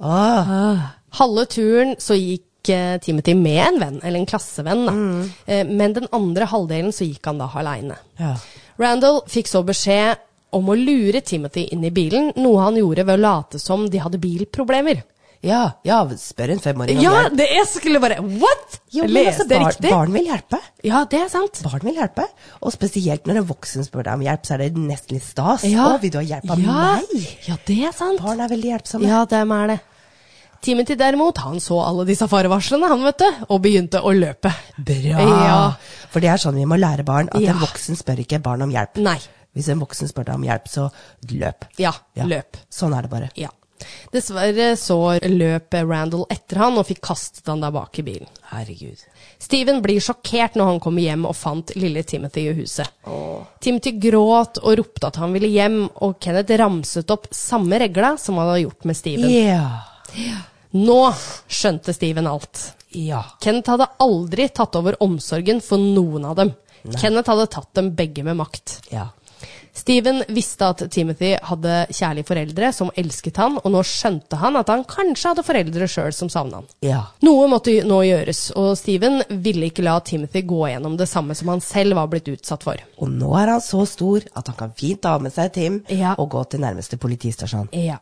[SPEAKER 2] Åh,
[SPEAKER 1] Halve turen så gikk eh, Timothy med en venn, eller en klassevenn, da.
[SPEAKER 2] Mm.
[SPEAKER 1] Eh, men den andre halvdelen så gikk han da aleine.
[SPEAKER 2] Ja.
[SPEAKER 1] Randall fikk så beskjed om å lure Timothy inn i bilen, noe han gjorde ved å late som de hadde bilproblemer.
[SPEAKER 2] ja, ja, spør en femåring om
[SPEAKER 1] Ja,
[SPEAKER 2] det.
[SPEAKER 1] det jeg skulle bare What?!
[SPEAKER 2] Jo, men
[SPEAKER 1] Leste
[SPEAKER 2] altså, barn,
[SPEAKER 1] riktig?
[SPEAKER 2] barn vil hjelpe.
[SPEAKER 1] Ja, det er sant.
[SPEAKER 2] Barn vil hjelpe. Og spesielt når en voksen spør deg om hjelp, så er det nesten litt stas.
[SPEAKER 1] Ja.
[SPEAKER 2] Å, vil du ha hjelp av
[SPEAKER 1] ja.
[SPEAKER 2] meg?
[SPEAKER 1] Ja, det er sant.
[SPEAKER 2] Barn er veldig hjelpsomme.
[SPEAKER 1] Ja, dem er det. Timothy derimot, han så alle disse farevarslene, han, vet du, og begynte å løpe.
[SPEAKER 2] Bra!
[SPEAKER 1] Ja.
[SPEAKER 2] For det er sånn vi må lære barn, at
[SPEAKER 1] Ja.
[SPEAKER 2] en voksen spør ikke barn om hjelp.
[SPEAKER 1] Nei.
[SPEAKER 2] Hvis en voksen spør deg om hjelp, så løp.
[SPEAKER 1] Ja, løp.
[SPEAKER 2] Sånn er det bare.
[SPEAKER 1] Ja. Dessverre så løp Randall etter han og fikk kastet han der bak i bilen.
[SPEAKER 2] Herregud.
[SPEAKER 1] Steven blir sjokkert når han kommer hjem og fant lille Timothy i huset. Timothy gråt og ropte at han ville hjem, og Kenneth ramset opp samme regla som han hadde gjort med Steven.
[SPEAKER 2] Ja.
[SPEAKER 1] Nå skjønte Steven alt.
[SPEAKER 2] Ja.
[SPEAKER 1] Kenneth hadde aldri tatt over omsorgen for noen av dem. Kenneth hadde tatt dem begge med makt.
[SPEAKER 2] Ja.
[SPEAKER 1] Steven visste at Timothy hadde kjærlige foreldre som elsket han, og nå skjønte han at han kanskje hadde foreldre sjøl som savna han.
[SPEAKER 2] Ja.
[SPEAKER 1] Noe måtte nå gjøres, og Steven ville ikke la Timothy gå gjennom det samme som han selv var blitt utsatt for.
[SPEAKER 2] Og nå er han så stor at han kan fint ta med seg Tim
[SPEAKER 1] Ja.
[SPEAKER 2] og gå til nærmeste politistasjon.
[SPEAKER 1] Ja.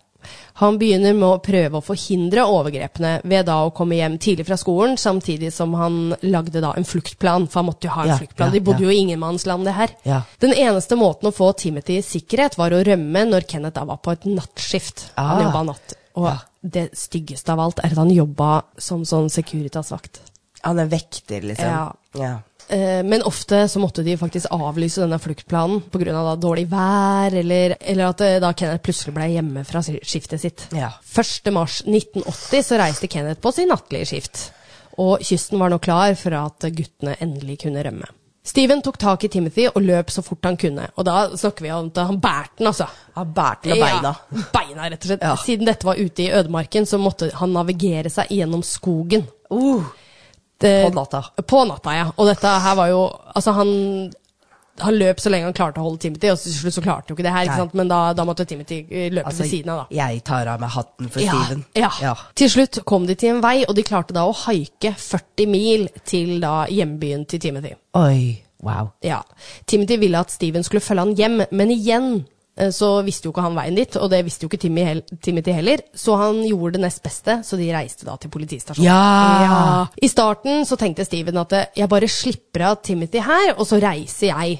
[SPEAKER 1] Han begynner med å prøve å forhindre overgrepene ved da å komme hjem tidlig fra skolen, samtidig som han lagde da en fluktplan, for han måtte jo ha en
[SPEAKER 2] Ja,
[SPEAKER 1] fluktplan.
[SPEAKER 2] ja,
[SPEAKER 1] De bodde jo
[SPEAKER 2] ja.
[SPEAKER 1] i ingenmannsland, det her.
[SPEAKER 2] Ja.
[SPEAKER 1] Den eneste måten å få Timothy i sikkerhet var å rømme når Kenneth da var på et nattskift. Han
[SPEAKER 2] Ah.
[SPEAKER 1] jobba natt. Og det styggeste av alt er at han jobba som sånn Securitas-vakt.
[SPEAKER 2] Han er vekter, liksom.
[SPEAKER 1] Ja.
[SPEAKER 2] ja.
[SPEAKER 1] Eh, Men ofte så måtte de faktisk avlyse denne fluktplanen pga. dårlig vær, eller, eller at eh, da Kenneth plutselig ble hjemme fra si- skiftet sitt.
[SPEAKER 2] Ja.
[SPEAKER 1] 1. mars 1980 så reiste Kenneth på sin nattlige skift, og kysten var nå klar for at guttene endelig kunne rømme. Steven tok tak i Timothy og løp så fort han kunne, og da snakker vi om at han bærte den, altså.
[SPEAKER 2] Han bært med beina.
[SPEAKER 1] Ja, beina, rett og slett.
[SPEAKER 2] Ja.
[SPEAKER 1] Siden dette var ute i ødemarken, så måtte han navigere seg gjennom skogen.
[SPEAKER 2] Uh,
[SPEAKER 1] Det-
[SPEAKER 2] På natta.
[SPEAKER 1] På natta, ja. Og dette her var jo Altså, han han løp så lenge han klarte å holde Timothy, og til slutt så klarte han jo ikke det her.
[SPEAKER 2] Nei.
[SPEAKER 1] ikke sant? Men da, da måtte Timothy eh, løpe
[SPEAKER 2] altså,
[SPEAKER 1] ved siden av, da.
[SPEAKER 2] jeg tar av meg hatten for Steven.
[SPEAKER 1] Ja, ja. Til slutt kom de til en vei, og de klarte da å haike 40 mil til da hjembyen til Timothy.
[SPEAKER 2] Oi, wow.
[SPEAKER 1] Ja. Timothy ville at Steven skulle følge han hjem, men igjen eh, så visste jo ikke han veien dit, og det visste jo ikke Timmy hel Timothy heller, så han gjorde det nest beste, så de reiste da til politistasjonen.
[SPEAKER 2] Ja!
[SPEAKER 1] I starten så tenkte Steven at eh, jeg bare slipper av Timothy her, og så reiser jeg.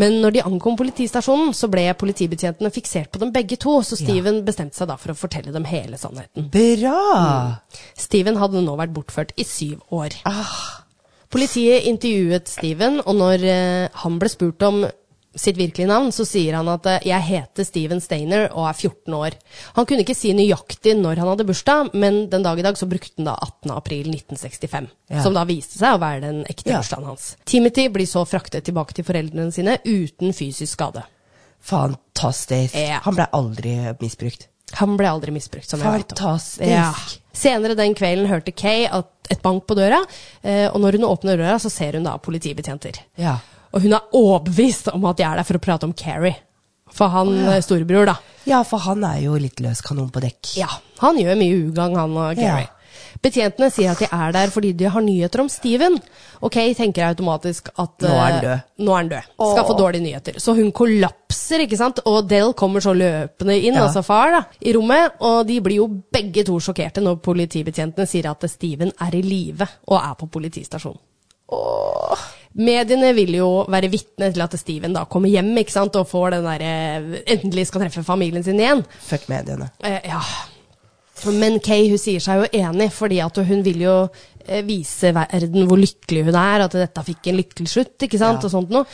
[SPEAKER 1] Men når de ankom politistasjonen, så ble politibetjentene fiksert på dem begge to, så Steven bestemte seg da for å fortelle dem hele sannheten.
[SPEAKER 2] Bra!
[SPEAKER 1] Mm. Steven hadde nå vært bortført i syv år.
[SPEAKER 2] Ah.
[SPEAKER 1] Politiet intervjuet Steven, og når eh, han ble spurt om sitt virkelige navn, så sier han at eh, 'jeg heter Steven Steiner og er 14 år'. Han kunne ikke si nøyaktig når han hadde bursdag, men den dag i dag så brukte han da 18. april 1965,
[SPEAKER 2] Ja.
[SPEAKER 1] som da viste seg å være den ekte
[SPEAKER 2] Ja.
[SPEAKER 1] bursdagen hans. Timothy blir så fraktet tilbake til foreldrene sine uten fysisk skade.
[SPEAKER 2] Fantastisk.
[SPEAKER 1] Ja.
[SPEAKER 2] Han ble aldri misbrukt.
[SPEAKER 1] Han ble aldri misbrukt, som jeg vet om.
[SPEAKER 2] Fantastisk.
[SPEAKER 1] Senere den kvelden hørte Kay at et bank på døra, eh, og når hun åpner døra, så ser hun da politibetjenter.
[SPEAKER 2] Ja.
[SPEAKER 1] Og hun er overbevist om at de er der for å prate om Carrie. For han eh, storebror, da.
[SPEAKER 2] ja, for han er jo litt løs kanon på dekk.
[SPEAKER 1] Ja, han gjør mye ugagn, han og Carrie.
[SPEAKER 2] Ja.
[SPEAKER 1] Betjentene sier at de er der fordi de har nyheter om Steven. Og Kay tenker automatisk at
[SPEAKER 2] Nå er han
[SPEAKER 1] eh,
[SPEAKER 2] død.
[SPEAKER 1] Nå er han død. Skal få dårlige nyheter. Så hun kollapser, ikke sant. Og Del kommer så løpende inn,
[SPEAKER 2] Ja.
[SPEAKER 1] altså far, da, i rommet. Og de blir jo begge to sjokkerte når politibetjentene sier at Steven er i live og er på politistasjonen. Mediene vil jo være vitne til at Steven da kommer hjem ikke sant, og får den derre Endelig skal treffe familien sin igjen.
[SPEAKER 2] Fuck mediene.
[SPEAKER 1] Eh, ja. Men Kay hun sier seg jo enig, fordi at hun vil jo eh, vise verden hvor lykkelig hun er, at dette fikk en lykkelig slutt, ikke sant,
[SPEAKER 2] Ja.
[SPEAKER 1] og sånt noe.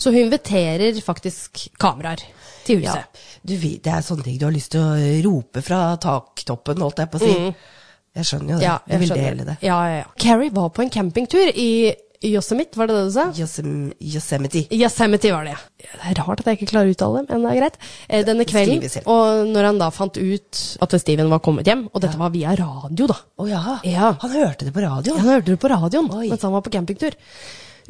[SPEAKER 1] Så hun inviterer faktisk kameraer til
[SPEAKER 2] Ja.
[SPEAKER 1] huset.
[SPEAKER 2] Du, vet, det er sånne ting du har lyst til å rope fra taktoppen, holdt jeg på å si. Jeg skjønner jo
[SPEAKER 1] Mm.
[SPEAKER 2] det.
[SPEAKER 1] Ja,
[SPEAKER 2] du vil
[SPEAKER 1] skjønner.
[SPEAKER 2] dele det.
[SPEAKER 1] Ja, ja, ja. Carrie var på en campingtur i Yosemite, var det det du sa?
[SPEAKER 2] Yosem- Yosemite.
[SPEAKER 1] Yosemite var det, ja. Det er rart at jeg ikke klarer å uttale det, men det er greit. Eh, Denne kvelden,
[SPEAKER 2] Skrives helt.
[SPEAKER 1] og når han da fant ut at Steven var kommet hjem, og dette var via radio da,
[SPEAKER 2] Å ja.
[SPEAKER 1] Ja.
[SPEAKER 2] Han hørte det på radioen.
[SPEAKER 1] Han hørte det på radioen
[SPEAKER 2] Oi.
[SPEAKER 1] mens han var på campingtur.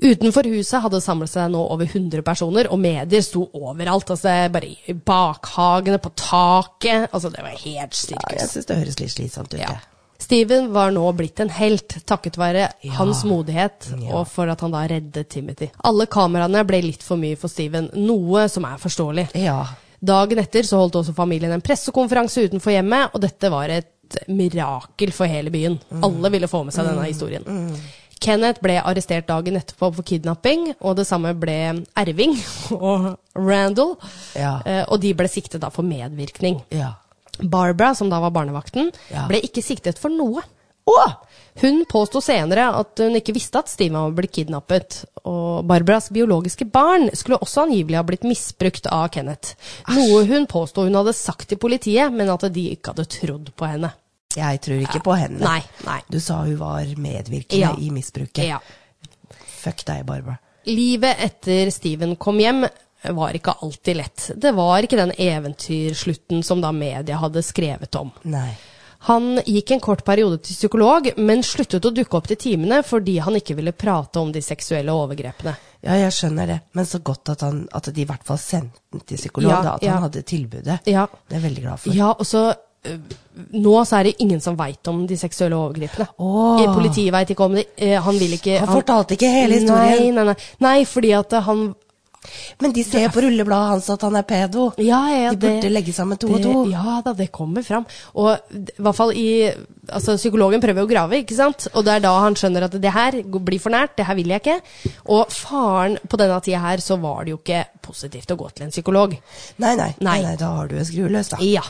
[SPEAKER 1] Utenfor huset hadde det samlet seg nå over 100 personer, og medier sto overalt. Altså, bare i bakhagene, på taket. Altså, det var helt
[SPEAKER 2] Ja,
[SPEAKER 1] sirkus.
[SPEAKER 2] jeg syns det høres litt slitsomt ut.
[SPEAKER 1] Ja.
[SPEAKER 2] jeg.
[SPEAKER 1] Steven var nå blitt en helt, takket være
[SPEAKER 2] Ja.
[SPEAKER 1] hans modighet
[SPEAKER 2] Ja.
[SPEAKER 1] og for at han da reddet Timothy. Alle kameraene ble litt for mye for Steven, noe som er forståelig.
[SPEAKER 2] Ja.
[SPEAKER 1] Dagen etter så holdt også familien en pressekonferanse utenfor hjemmet, og dette var et mirakel for hele byen. Alle ville få med seg denne historien. Kenneth ble arrestert dagen etterpå for kidnapping, og det samme ble Erving og Randall.
[SPEAKER 2] Ja.
[SPEAKER 1] Eh, Og de ble siktet da for medvirkning.
[SPEAKER 2] ja.
[SPEAKER 1] Barbara, som da var barnevakten,
[SPEAKER 2] Ja.
[SPEAKER 1] ble ikke siktet for noe.
[SPEAKER 2] Å!
[SPEAKER 1] Hun påsto senere at hun ikke visste at Steven var blitt kidnappet, og Barbaras biologiske barn skulle også angivelig ha blitt misbrukt av Kenneth. Noe hun påsto hun hadde sagt til politiet, men at de ikke hadde trodd på henne.
[SPEAKER 2] Jeg tror ikke på henne.
[SPEAKER 1] Nei, nei.
[SPEAKER 2] Du sa hun var medvirkende
[SPEAKER 1] Ja.
[SPEAKER 2] i misbruket.
[SPEAKER 1] Ja.
[SPEAKER 2] Fuck deg, Barbara.
[SPEAKER 1] Livet etter Steven kom hjem var ikke alltid lett. Det var ikke den eventyrslutten som da media hadde skrevet om.
[SPEAKER 2] Nei.
[SPEAKER 1] Han gikk en kort periode til psykolog, men sluttet å dukke opp til timene fordi han ikke ville prate om de seksuelle overgrepene.
[SPEAKER 2] Ja, jeg skjønner det, men så godt at, han, at de i hvert fall sendte den til psykolog,
[SPEAKER 1] Ja,
[SPEAKER 2] da, at
[SPEAKER 1] ja.
[SPEAKER 2] han hadde tilbudet.
[SPEAKER 1] Ja.
[SPEAKER 2] Det er jeg veldig glad for.
[SPEAKER 1] Ja, og så øh, Nå så er det ingen som veit om de seksuelle overgripene.
[SPEAKER 2] Åh.
[SPEAKER 1] Eh, Politiet veit ikke om det. eh, Han vil ikke
[SPEAKER 2] Han fortalte ikke hele historien.
[SPEAKER 1] Nei, nei, nei. nei fordi at eh, han
[SPEAKER 2] Men de ser på rullebladet hans at han er pedo.
[SPEAKER 1] Ja, ja, ja,
[SPEAKER 2] de burde legge sammen to
[SPEAKER 1] det-
[SPEAKER 2] og to.
[SPEAKER 1] Ja da, det kommer fram. Og d- i hvert fall i Altså, psykologen prøver å grave, ikke sant? Og det er da han skjønner at det her g- blir for nært, det her vil jeg ikke. Og faren På denne tida her så var det jo ikke positivt å gå til en psykolog.
[SPEAKER 2] Nei, nei, nei,
[SPEAKER 1] Nei.
[SPEAKER 2] nei, da har du en skrue løs, da.
[SPEAKER 1] Ja.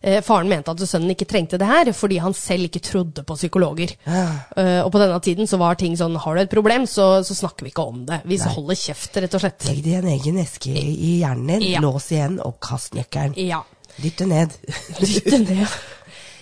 [SPEAKER 1] Eh, Faren mente at sønnen ikke trengte det her, fordi han selv ikke trodde på psykologer. Eh, Og på denne tiden så var ting sånn har du et problem, så, så snakker vi ikke om det. Vi holder kjeft, rett og slett.
[SPEAKER 2] Legg det i en egen eske i hjernen din,
[SPEAKER 1] Ja.
[SPEAKER 2] lås igjen og kast nøkkelen.
[SPEAKER 1] Ja.
[SPEAKER 2] Dytt det ned.
[SPEAKER 1] Dytte ned.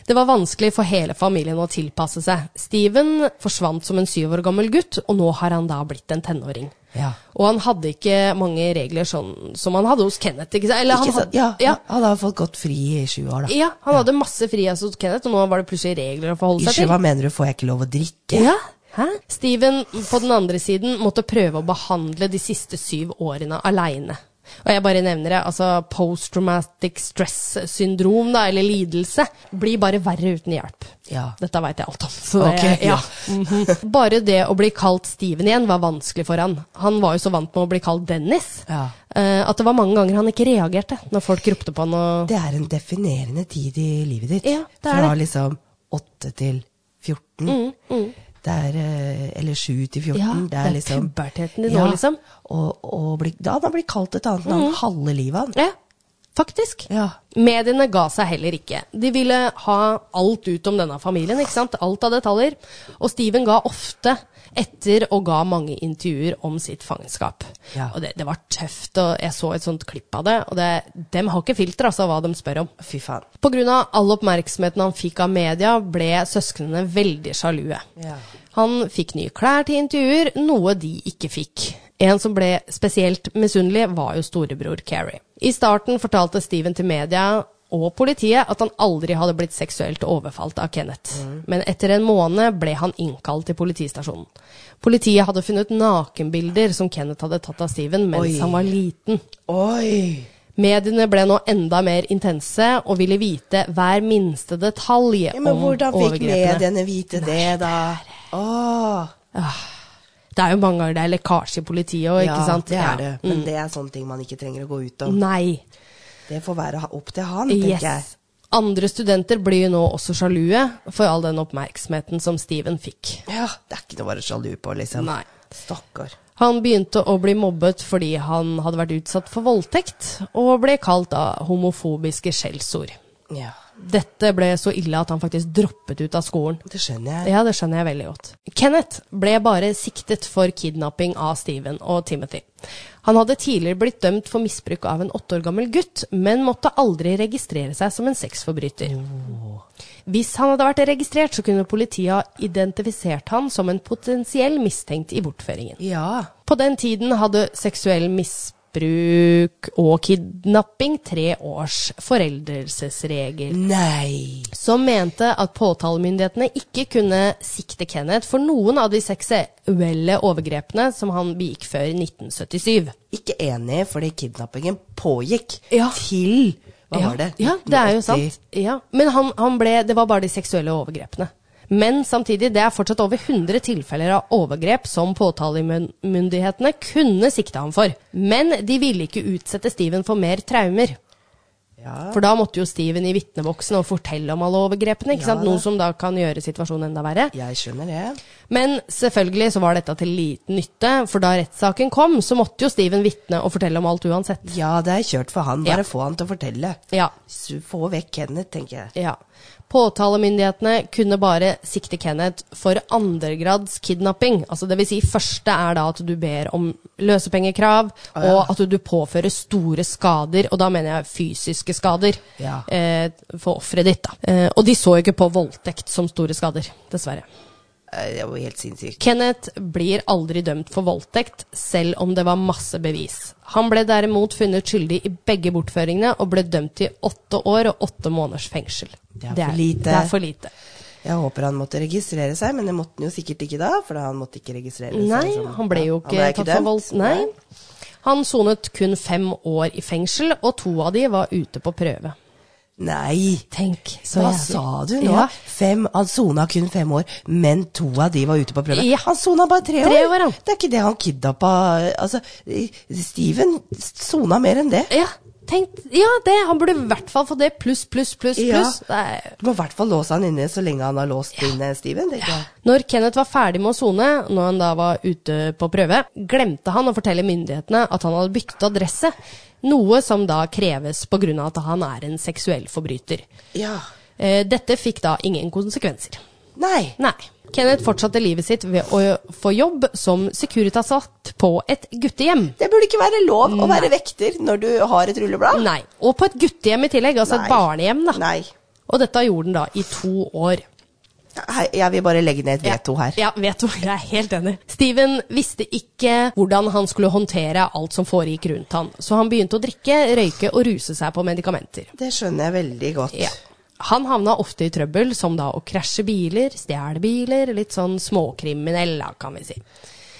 [SPEAKER 1] Det var vanskelig for hele familien å tilpasse seg. Steven forsvant som en syv år gammel gutt, og nå har han da blitt en tenåring.
[SPEAKER 2] Ja.
[SPEAKER 1] Og han hadde ikke mange regler sånn som han hadde hos Kenneth. Ikke sant? Eller han
[SPEAKER 2] Ikke sant?
[SPEAKER 1] hadde,
[SPEAKER 2] Ja,
[SPEAKER 1] ja,
[SPEAKER 2] han har fått gått fri i sju år, da.
[SPEAKER 1] ja, han hadde masse frihet hos Kenneth, og nå var det plutselig regler å forholde
[SPEAKER 2] Ikke,
[SPEAKER 1] seg til.
[SPEAKER 2] hva mener du, får jeg ikke lov å drikke?
[SPEAKER 1] Ja. Hæ? Steven på den andre siden måtte prøve å behandle de siste syv årene aleine. Og jeg bare nevner det, altså post-traumatic stress-syndrom, da, eller lidelse, blir bare verre uten hjelp.
[SPEAKER 2] Ja.
[SPEAKER 1] Dette veit jeg alt om. Så
[SPEAKER 2] Ok,
[SPEAKER 1] det, ja.
[SPEAKER 2] ja.
[SPEAKER 1] Mhm. Bare det å bli kalt Steven igjen var vanskelig for han. Han var jo så vant med å bli kalt Dennis
[SPEAKER 2] Ja.
[SPEAKER 1] eh, at det var mange ganger han ikke reagerte når folk ropte på han og
[SPEAKER 2] Det er en definerende tid i livet ditt.
[SPEAKER 1] Ja, det er
[SPEAKER 2] Fra
[SPEAKER 1] det. Mm,
[SPEAKER 2] liksom 8 til 14. Det er, eh, eller 7 til 14.
[SPEAKER 1] Ja,
[SPEAKER 2] det
[SPEAKER 1] det
[SPEAKER 2] er,
[SPEAKER 1] er
[SPEAKER 2] liksom,
[SPEAKER 1] puberteten din nå, liksom. Mm.
[SPEAKER 2] Og, og blir- da han har blitt kalt et annet navn halve livet han.
[SPEAKER 1] Ja, faktisk.
[SPEAKER 2] Ja.
[SPEAKER 1] Mediene ga seg heller ikke. De ville ha alt ut om denne familien, ikke sant? Alt av detaljer. Og Steven ga ofte etter og ga mange intervjuer om sitt fangenskap.
[SPEAKER 2] Ja.
[SPEAKER 1] Og det, det var tøft, og jeg så et sånt klipp av det, og det, dem har ikke filter, altså, hva de spør om.
[SPEAKER 2] Fy faen.
[SPEAKER 1] På grunn av all oppmerksomheten han fikk av media, ble søsknene veldig sjalue.
[SPEAKER 2] Ja.
[SPEAKER 1] Han fikk nye klær til intervjuer, noe de ikke fikk. En som ble spesielt misunnelig, var jo storebror Carrie. I starten fortalte Steven til media og politiet at han aldri hadde blitt seksuelt overfalt av Kenneth.
[SPEAKER 2] Mm.
[SPEAKER 1] Men etter en måned ble han innkalt til politistasjonen. Politiet hadde funnet nakenbilder som Kenneth hadde tatt av Steven mens
[SPEAKER 2] Oi.
[SPEAKER 1] han var liten.
[SPEAKER 2] Oi!
[SPEAKER 1] Mediene ble nå enda mer intense og ville vite hver minste detalj
[SPEAKER 2] Ja,
[SPEAKER 1] om
[SPEAKER 2] men hvordan fikk
[SPEAKER 1] overgrepene.
[SPEAKER 2] mediene vite det, da? Åh.
[SPEAKER 1] Det er jo mange ganger det er lekkasje i politiet og ikke sant?
[SPEAKER 2] det
[SPEAKER 1] Ja. Mm.
[SPEAKER 2] er det. Men det er sånne ting man ikke trenger å gå ut om.
[SPEAKER 1] Nei.
[SPEAKER 2] Det får være ha- opp til han, tenker jeg.
[SPEAKER 1] Yes. Andre studenter blir jo nå også sjalue for all den oppmerksomheten som Steven fikk.
[SPEAKER 2] Ja, det er ikke noe å være sjalu på, liksom.
[SPEAKER 1] Nei.
[SPEAKER 2] Stakkar.
[SPEAKER 1] Han begynte å bli mobbet fordi han hadde vært utsatt for voldtekt, og ble kalt da homofobiske skjellsord.
[SPEAKER 2] Ja,
[SPEAKER 1] Dette ble så ille at han faktisk droppet ut av skolen.
[SPEAKER 2] det skjønner jeg.
[SPEAKER 1] Ja, det skjønner jeg veldig godt. Kenneth ble bare siktet for kidnapping av Steven og Timothy. Han hadde tidligere blitt dømt for misbruk av en åtte år gammel gutt, men måtte aldri registrere seg som en sexforbryter. Hvis han hadde vært registrert, så kunne politiet ha identifisert han som en potensiell mistenkt i bortføringen.
[SPEAKER 2] Ja.
[SPEAKER 1] På den tiden hadde seksuell misbruk og kidnapping tre års foreldelsesregel
[SPEAKER 2] Nei.
[SPEAKER 1] som mente at påtalemyndighetene ikke kunne sikte Kenneth for noen av de seksuelle overgrepene som han begikk før 1977.
[SPEAKER 2] Ikke enig, fordi kidnappingen pågikk
[SPEAKER 1] Ja.
[SPEAKER 2] til Hva
[SPEAKER 1] ja.
[SPEAKER 2] var det?
[SPEAKER 1] Ja, det er jo
[SPEAKER 2] 1980.
[SPEAKER 1] sant. Ja. Men han, han ble, det var bare de seksuelle overgrepene. Men samtidig, det er fortsatt over 100 tilfeller av overgrep som påtalemyndighetene kunne sikte ham for. Men de ville ikke utsette Steven for mer traumer.
[SPEAKER 2] Ja.
[SPEAKER 1] For da måtte jo Steven i vitneboksen og fortelle om alle overgrepene, ikke
[SPEAKER 2] Ja,
[SPEAKER 1] sant? noe
[SPEAKER 2] da.
[SPEAKER 1] som da kan gjøre situasjonen enda verre.
[SPEAKER 2] Jeg skjønner det.
[SPEAKER 1] Men selvfølgelig så var dette til liten nytte, for da rettssaken kom, så måtte jo Steven vitne og fortelle om alt uansett.
[SPEAKER 2] Ja, det er kjørt for han. Bare
[SPEAKER 1] Ja.
[SPEAKER 2] få han til å fortelle.
[SPEAKER 1] Ja.
[SPEAKER 2] S- Få vekk Kenneth, tenker jeg.
[SPEAKER 1] ja. Påtalemyndighetene kunne bare sikte Kenneth for andregrads kidnapping. Altså det vil si, første er da at du ber om løsepengekrav, og at du påfører store skader, og da mener jeg fysiske skader,
[SPEAKER 2] Ja.
[SPEAKER 1] eh, for offeret ditt. da. Eh, og de så jo ikke på voldtekt som store skader, dessverre.
[SPEAKER 2] eh, det var jo helt sinnssykt.
[SPEAKER 1] Kenneth blir aldri dømt for voldtekt, selv om det var masse bevis. Han ble derimot funnet skyldig i begge bortføringene og ble dømt til åtte år og åtte måneders fengsel.
[SPEAKER 2] Det er for lite.
[SPEAKER 1] Det er for lite.
[SPEAKER 2] Jeg håper han måtte registrere seg, men det måtte han jo sikkert ikke da, for da han måtte ikke registrere
[SPEAKER 1] Nei,
[SPEAKER 2] seg. sånn som-
[SPEAKER 1] han ble jo ikke,
[SPEAKER 2] ble
[SPEAKER 1] tatt for vold. Nei. Han sonet kun fem år i fengsel, og to av de var ute på prøve.
[SPEAKER 2] Nei!
[SPEAKER 1] Tenk, så
[SPEAKER 2] Hva
[SPEAKER 1] jeg-
[SPEAKER 2] sa du nå?
[SPEAKER 1] Ja,
[SPEAKER 2] Fem, han sona kun fem år, men to av de var ute på prøve.
[SPEAKER 1] Ja.
[SPEAKER 2] Han sona bare tre år!
[SPEAKER 1] Tre år, han.
[SPEAKER 2] Det er ikke det han kidnappa Altså, Steven sona mer enn det.
[SPEAKER 1] ja, tenk, ja det, han burde i hvert fall få det, pluss, pluss, pluss,
[SPEAKER 2] Ja.
[SPEAKER 1] pluss. Det er-
[SPEAKER 2] Du må i hvert fall låse han inne så lenge han har låst inne Steven. tenker jeg.
[SPEAKER 1] Når Kenneth var ferdig med å sone, når han da var ute på prøve, glemte han å fortelle myndighetene at han hadde byttet adresse, noe som da kreves på grunn av at han er en seksuell forbryter.
[SPEAKER 2] Ja.
[SPEAKER 1] Eh, Dette fikk da ingen konsekvenser.
[SPEAKER 2] Nei.
[SPEAKER 1] Nei. Kenneth fortsatte livet sitt ved å få jobb som Securitas-vatt på et guttehjem.
[SPEAKER 2] Det burde ikke være lov å være vekter når du har et rulleblad.
[SPEAKER 1] Nei, og på et guttehjem i tillegg, altså
[SPEAKER 2] Nei.
[SPEAKER 1] et barnehjem da.
[SPEAKER 2] Nei.
[SPEAKER 1] Og dette gjorde han da i to år.
[SPEAKER 2] Hei, Jeg vil bare legge ned et veto her.
[SPEAKER 1] Ja, veto. Jeg er helt enig. Steven visste ikke hvordan han skulle håndtere alt som foregikk rundt han, så han begynte å drikke, røyke og ruse seg på medikamenter.
[SPEAKER 2] Det skjønner jeg veldig godt.
[SPEAKER 1] Ja. Han havna ofte i trøbbel, som da å krasje biler, stjele biler, litt sånn småkriminell, da, kan vi si.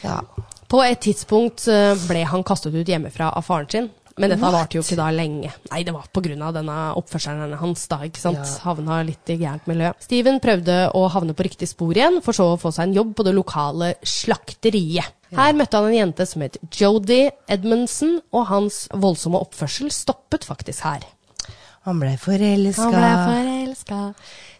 [SPEAKER 2] Ja.
[SPEAKER 1] På et tidspunkt eh, ble han kastet ut hjemmefra av faren sin. Men dette varte jo ikke da lenge. Nei, det var pga. denne oppførselen hans, da. ikke sant? Havna litt i gærent miljø. Steven prøvde å havne på riktig spor igjen, for så å få seg en jobb på det lokale slakteriet. Her møtte han en jente som het Jodi Edmundsen, og hans voldsomme oppførsel stoppet faktisk her.
[SPEAKER 2] Han ble
[SPEAKER 1] Han
[SPEAKER 2] forelska.
[SPEAKER 1] ble forelska.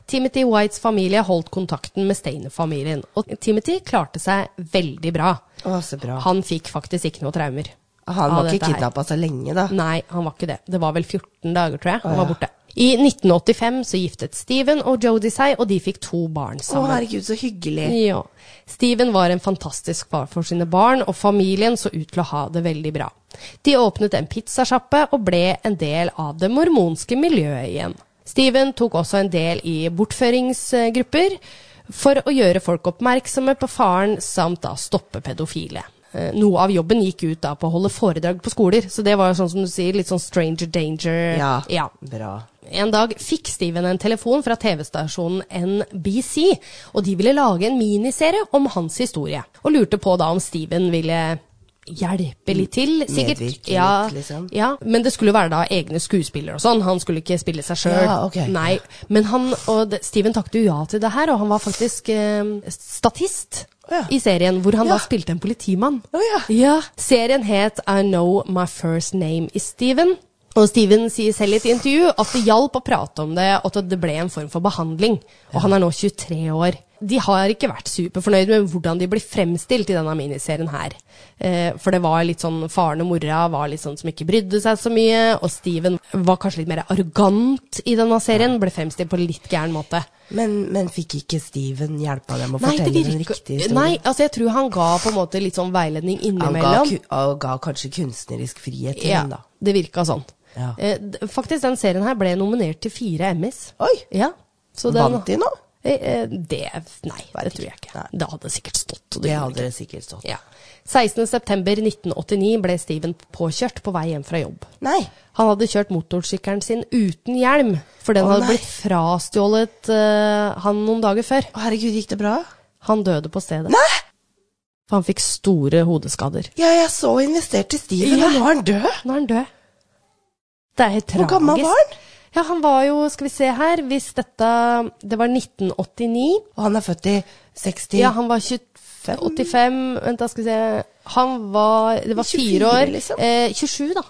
[SPEAKER 1] Timothy Whites familie holdt kontakten med Steiner-familien, og Timothy klarte seg veldig bra.
[SPEAKER 2] Å, så bra.
[SPEAKER 1] Han
[SPEAKER 2] Han,
[SPEAKER 1] fikk faktisk ikke noe traumer. av
[SPEAKER 2] var ikke
[SPEAKER 1] dette her.
[SPEAKER 2] kidnappa så lenge, da.
[SPEAKER 1] Nei, han var ikke det. Det var vel 14 dager, tror jeg. Han
[SPEAKER 2] Å,
[SPEAKER 1] var
[SPEAKER 2] ja.
[SPEAKER 1] borte. I 1985 så giftet Steven og Jodie seg, og de fikk to barn
[SPEAKER 2] Å,
[SPEAKER 1] sammen.
[SPEAKER 2] herregud, så hyggelig.
[SPEAKER 1] ja. Steven var en fantastisk far for sine barn, og familien så ut til å ha det veldig bra. De åpnet en pizzasjappe og ble en del av det mormonske miljøet igjen. Steven tok også en del i bortføringsgrupper for å gjøre folk oppmerksomme på faren, samt da stoppe pedofile. Eh, Noe av jobben gikk ut da på å holde foredrag på skoler, så det var jo sånn som du sier, litt sånn stranger danger.
[SPEAKER 2] Ja.
[SPEAKER 1] ja.
[SPEAKER 2] Bra.
[SPEAKER 1] En dag fikk Steven en telefon fra TV-stasjonen NBC, og de ville lage en miniserie om hans historie, og lurte på da om Steven ville hjelpe litt til, sikkert.
[SPEAKER 2] Medvirke litt, liksom.
[SPEAKER 1] Ja, men det skulle være da egne skuespillere og sånn, han skulle ikke spille seg sjøl.
[SPEAKER 2] Ja, ok.
[SPEAKER 1] Nei, men han, og det, Steven takket jo ja til det her, og han var faktisk eh, statist
[SPEAKER 2] Å ja.
[SPEAKER 1] i serien, hvor han
[SPEAKER 2] Ja.
[SPEAKER 1] da spilte en politimann.
[SPEAKER 2] Å ja.
[SPEAKER 1] Ja, serien het I Know My First Name Is Steven. Og Steven sier selv i et intervju at det hjalp å prate om det, og at det ble en form for behandling. Og han er nå 23 år. De har ikke vært superfornøyd med hvordan de blir fremstilt i denne miniserien her. Eh, for det var litt sånn faren og mora var litt sånn som ikke brydde seg så mye, og Steven var kanskje litt mer arrogant i denne serien, ble fremstilt på litt gæren måte.
[SPEAKER 2] Men, men fikk ikke Steven hjelpe dem å
[SPEAKER 1] Nei, det
[SPEAKER 2] fortelle den
[SPEAKER 1] virker-
[SPEAKER 2] riktige historien?
[SPEAKER 1] Nei, altså jeg tror han ga på en måte litt sånn veiledning
[SPEAKER 2] han
[SPEAKER 1] innimellom.
[SPEAKER 2] ga, ku- han ga kanskje kunstnerisk frihet til
[SPEAKER 1] Ja,
[SPEAKER 2] henne, da.
[SPEAKER 1] det virka sånn.
[SPEAKER 2] Ja.
[SPEAKER 1] Eh, d- faktisk, den serien her ble nominert til fire Emmys.
[SPEAKER 2] Oi!
[SPEAKER 1] Ja, så den-
[SPEAKER 2] Vant de nå?
[SPEAKER 1] Eh, eh, Det Nei, det tror jeg ikke.
[SPEAKER 2] Nei.
[SPEAKER 1] Det hadde sikkert stått. og
[SPEAKER 2] Det
[SPEAKER 1] gjorde
[SPEAKER 2] hadde
[SPEAKER 1] ikke.
[SPEAKER 2] det sikkert stått.
[SPEAKER 1] Ja. 16.9.1989 ble Steven påkjørt på vei hjem fra jobb.
[SPEAKER 2] Nei.
[SPEAKER 1] Han hadde kjørt motorsykkelen sin uten hjelm, for den
[SPEAKER 2] Å,
[SPEAKER 1] hadde
[SPEAKER 2] nei.
[SPEAKER 1] blitt frastjålet eh, han noen dager før.
[SPEAKER 2] Å, herregud, gikk det bra?
[SPEAKER 1] Han døde på stedet.
[SPEAKER 2] Nei!
[SPEAKER 1] For han fikk store hodeskader.
[SPEAKER 2] Ja, jeg så investert i Steven,
[SPEAKER 1] Ja.
[SPEAKER 2] og nå er han død!
[SPEAKER 1] Nå er han død. Det er helt tragisk.
[SPEAKER 2] Hvor gammel var han?
[SPEAKER 1] Ja, han var jo, skal vi se her, hvis dette Det var 1989.
[SPEAKER 2] Og han er født i 60
[SPEAKER 1] Ja, han var 85 Vent, da skal vi se. Han var Det var
[SPEAKER 2] 24
[SPEAKER 1] fire år.
[SPEAKER 2] liksom.
[SPEAKER 1] Eh, 27, da.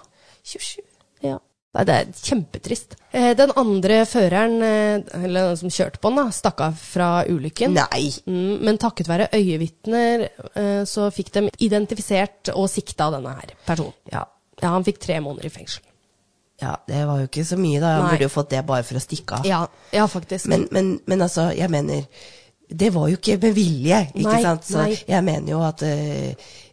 [SPEAKER 2] 27.
[SPEAKER 1] Ja. Nei, det er kjempetrist. Eh, den andre føreren, eh, eller den som kjørte på den, da, stakk av fra ulykken.
[SPEAKER 2] Nei!
[SPEAKER 1] Mm, men takket være øyevitner eh, så fikk de identifisert og sikta denne her personen.
[SPEAKER 2] Ja.
[SPEAKER 1] Ja, han fikk tre måneder i fengsel.
[SPEAKER 2] ja, det var jo ikke så mye, da. Han
[SPEAKER 1] Nei.
[SPEAKER 2] burde jo fått det bare for å stikke av.
[SPEAKER 1] Ja, ja faktisk.
[SPEAKER 2] Men, men, men altså, jeg mener Det var jo ikke med vilje, ikke
[SPEAKER 1] Nei,
[SPEAKER 2] sant? Så
[SPEAKER 1] nei.
[SPEAKER 2] jeg mener jo at eh,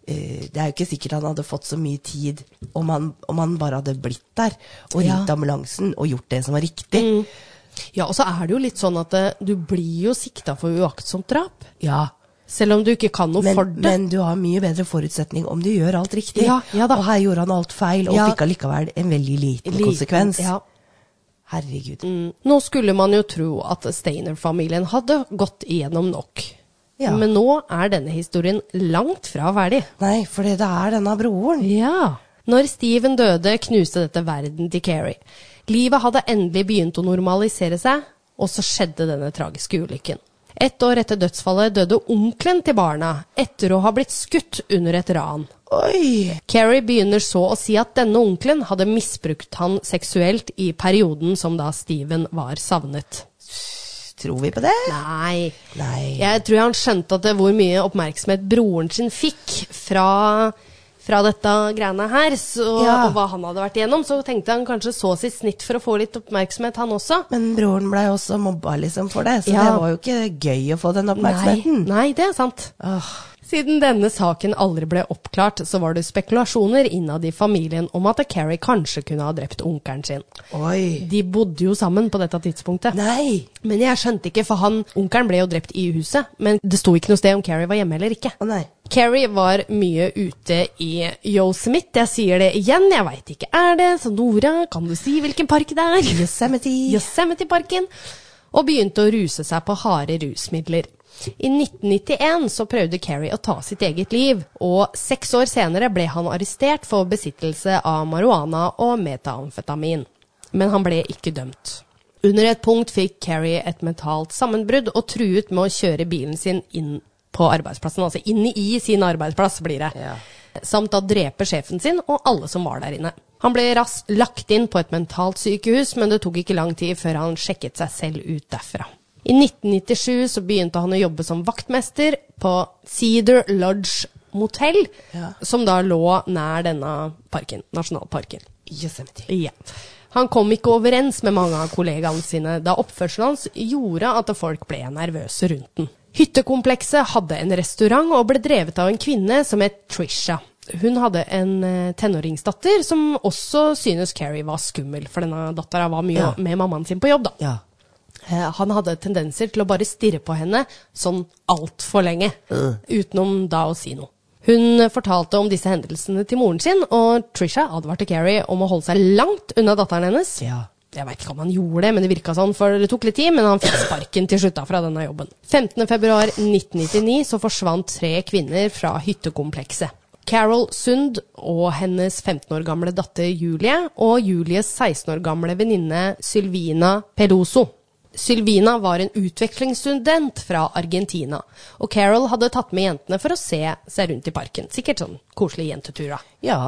[SPEAKER 2] eh, det er jo ikke sikkert han hadde fått så mye tid om han, om han bare hadde blitt der
[SPEAKER 1] Ja.
[SPEAKER 2] og
[SPEAKER 1] Mm.
[SPEAKER 2] ringt ambulansen og gjort det som var riktig.
[SPEAKER 1] Ja, og så er det jo litt sånn at eh, du blir jo sikta for uaktsomt drap.
[SPEAKER 2] Ja,
[SPEAKER 1] Selv om du ikke kan noe
[SPEAKER 2] Men,
[SPEAKER 1] for det.
[SPEAKER 2] men du har mye bedre forutsetning om du gjør alt riktig.
[SPEAKER 1] Ja, ja da.
[SPEAKER 2] og her gjorde han alt feil, og
[SPEAKER 1] Ja.
[SPEAKER 2] fikk allikevel en veldig liten,
[SPEAKER 1] Liten,
[SPEAKER 2] konsekvens.
[SPEAKER 1] ja.
[SPEAKER 2] Herregud.
[SPEAKER 1] Mm. Nå skulle man jo tro at Steiner-familien hadde gått igjennom nok.
[SPEAKER 2] Ja.
[SPEAKER 1] Men nå er denne historien langt fra ferdig.
[SPEAKER 2] Nei, for det er denne broren.
[SPEAKER 1] Ja. Når Steven døde, knuste dette verden til Keri. Livet hadde endelig begynt å normalisere seg, og så skjedde denne tragiske ulykken. Ett år etter dødsfallet døde onkelen til barna etter å ha blitt skutt under et ran.
[SPEAKER 2] Oi!
[SPEAKER 1] Keri begynner så å si at denne onkelen hadde misbrukt han seksuelt i perioden som da Steven var savnet.
[SPEAKER 2] Tror vi på det?
[SPEAKER 1] Nei.
[SPEAKER 2] Nei.
[SPEAKER 1] Jeg tror han skjønte at det, hvor mye oppmerksomhet broren sin fikk fra, fra dette greiene her, så,
[SPEAKER 2] Ja.
[SPEAKER 1] og hva han hadde vært igjennom, så tenkte han kanskje så sitt snitt for å få litt oppmerksomhet, han også.
[SPEAKER 2] Men broren blei også mobba liksom for det, så
[SPEAKER 1] Ja.
[SPEAKER 2] det var jo ikke gøy å få den
[SPEAKER 1] Nei,
[SPEAKER 2] oppmerksomheten.
[SPEAKER 1] nei, det er sant.
[SPEAKER 2] Åh,
[SPEAKER 1] Siden denne saken aldri ble oppklart, så var det spekulasjoner innad i familien om at Carrie kanskje kunne ha drept onkelen sin.
[SPEAKER 2] oi.
[SPEAKER 1] De bodde jo sammen på dette tidspunktet.
[SPEAKER 2] Nei!
[SPEAKER 1] Men jeg skjønte ikke, for han, onkelen ble jo drept i huset, men det sto ikke noe sted om Carrie var hjemme eller ikke.
[SPEAKER 2] Å nei.
[SPEAKER 1] Carrie var mye ute i Yosemite. Jeg sier det igjen, jeg veit ikke er det, så Nora, kan du si hvilken park det er?
[SPEAKER 2] Yosemite.
[SPEAKER 1] Yosemite-parken. Og begynte å ruse seg på harde rusmidler. I 1991 så prøvde Carrie å ta sitt eget liv, og seks år senere ble han arrestert for besittelse av marihuana og metamfetamin. Men han ble ikke dømt. Under et punkt fikk Carrie et mentalt sammenbrudd og truet med å kjøre bilen sin inn på arbeidsplassen. Altså inn i sin arbeidsplass, blir det.
[SPEAKER 2] Ja.
[SPEAKER 1] Samt å drepe sjefen sin og alle som var der inne. Han ble raskt lagt inn på et mentalt sykehus, men det tok ikke lang tid før han sjekket seg selv ut derfra. I 1997 så begynte han å jobbe som vaktmester på Cedar Lodge Motel,
[SPEAKER 2] Ja.
[SPEAKER 1] som da lå nær denne parken, nasjonalparken.
[SPEAKER 2] Yosemite.
[SPEAKER 1] Ja. Han kom ikke overens med mange av kollegaene sine, da oppførselen hans gjorde at folk ble nervøse rundt den. Hyttekomplekset hadde en restaurant og ble drevet av en kvinne som het Trisha. Hun hadde en eh, tenåringsdatter som også synes Carrie var skummel, for denne dattera var mye
[SPEAKER 2] Ja.
[SPEAKER 1] med mammaen sin på jobb, da.
[SPEAKER 2] Ja.
[SPEAKER 1] Eh, Han hadde tendenser til å bare stirre på henne sånn altfor lenge, utenom da å si noe. Hun fortalte om disse hendelsene til moren sin, og Trisha advarte Carrie om å holde seg langt unna datteren hennes.
[SPEAKER 2] Ja.
[SPEAKER 1] Jeg veit ikke om han gjorde det, men det virka sånn, for det tok litt tid, men han fikk sparken til slutt da fra denne jobben. 15.2.1999 så forsvant tre kvinner fra hyttekomplekset. Carol Sund og hennes 15 år gamle datter Julie, og Julies 16 år gamle venninne Sylvina Peloso. Sylvina var en utvekslingsstudent fra Argentina, og Carol hadde tatt med jentene for å se seg rundt i parken. Sikkert sånn koselig jentetur, da.
[SPEAKER 2] Ja.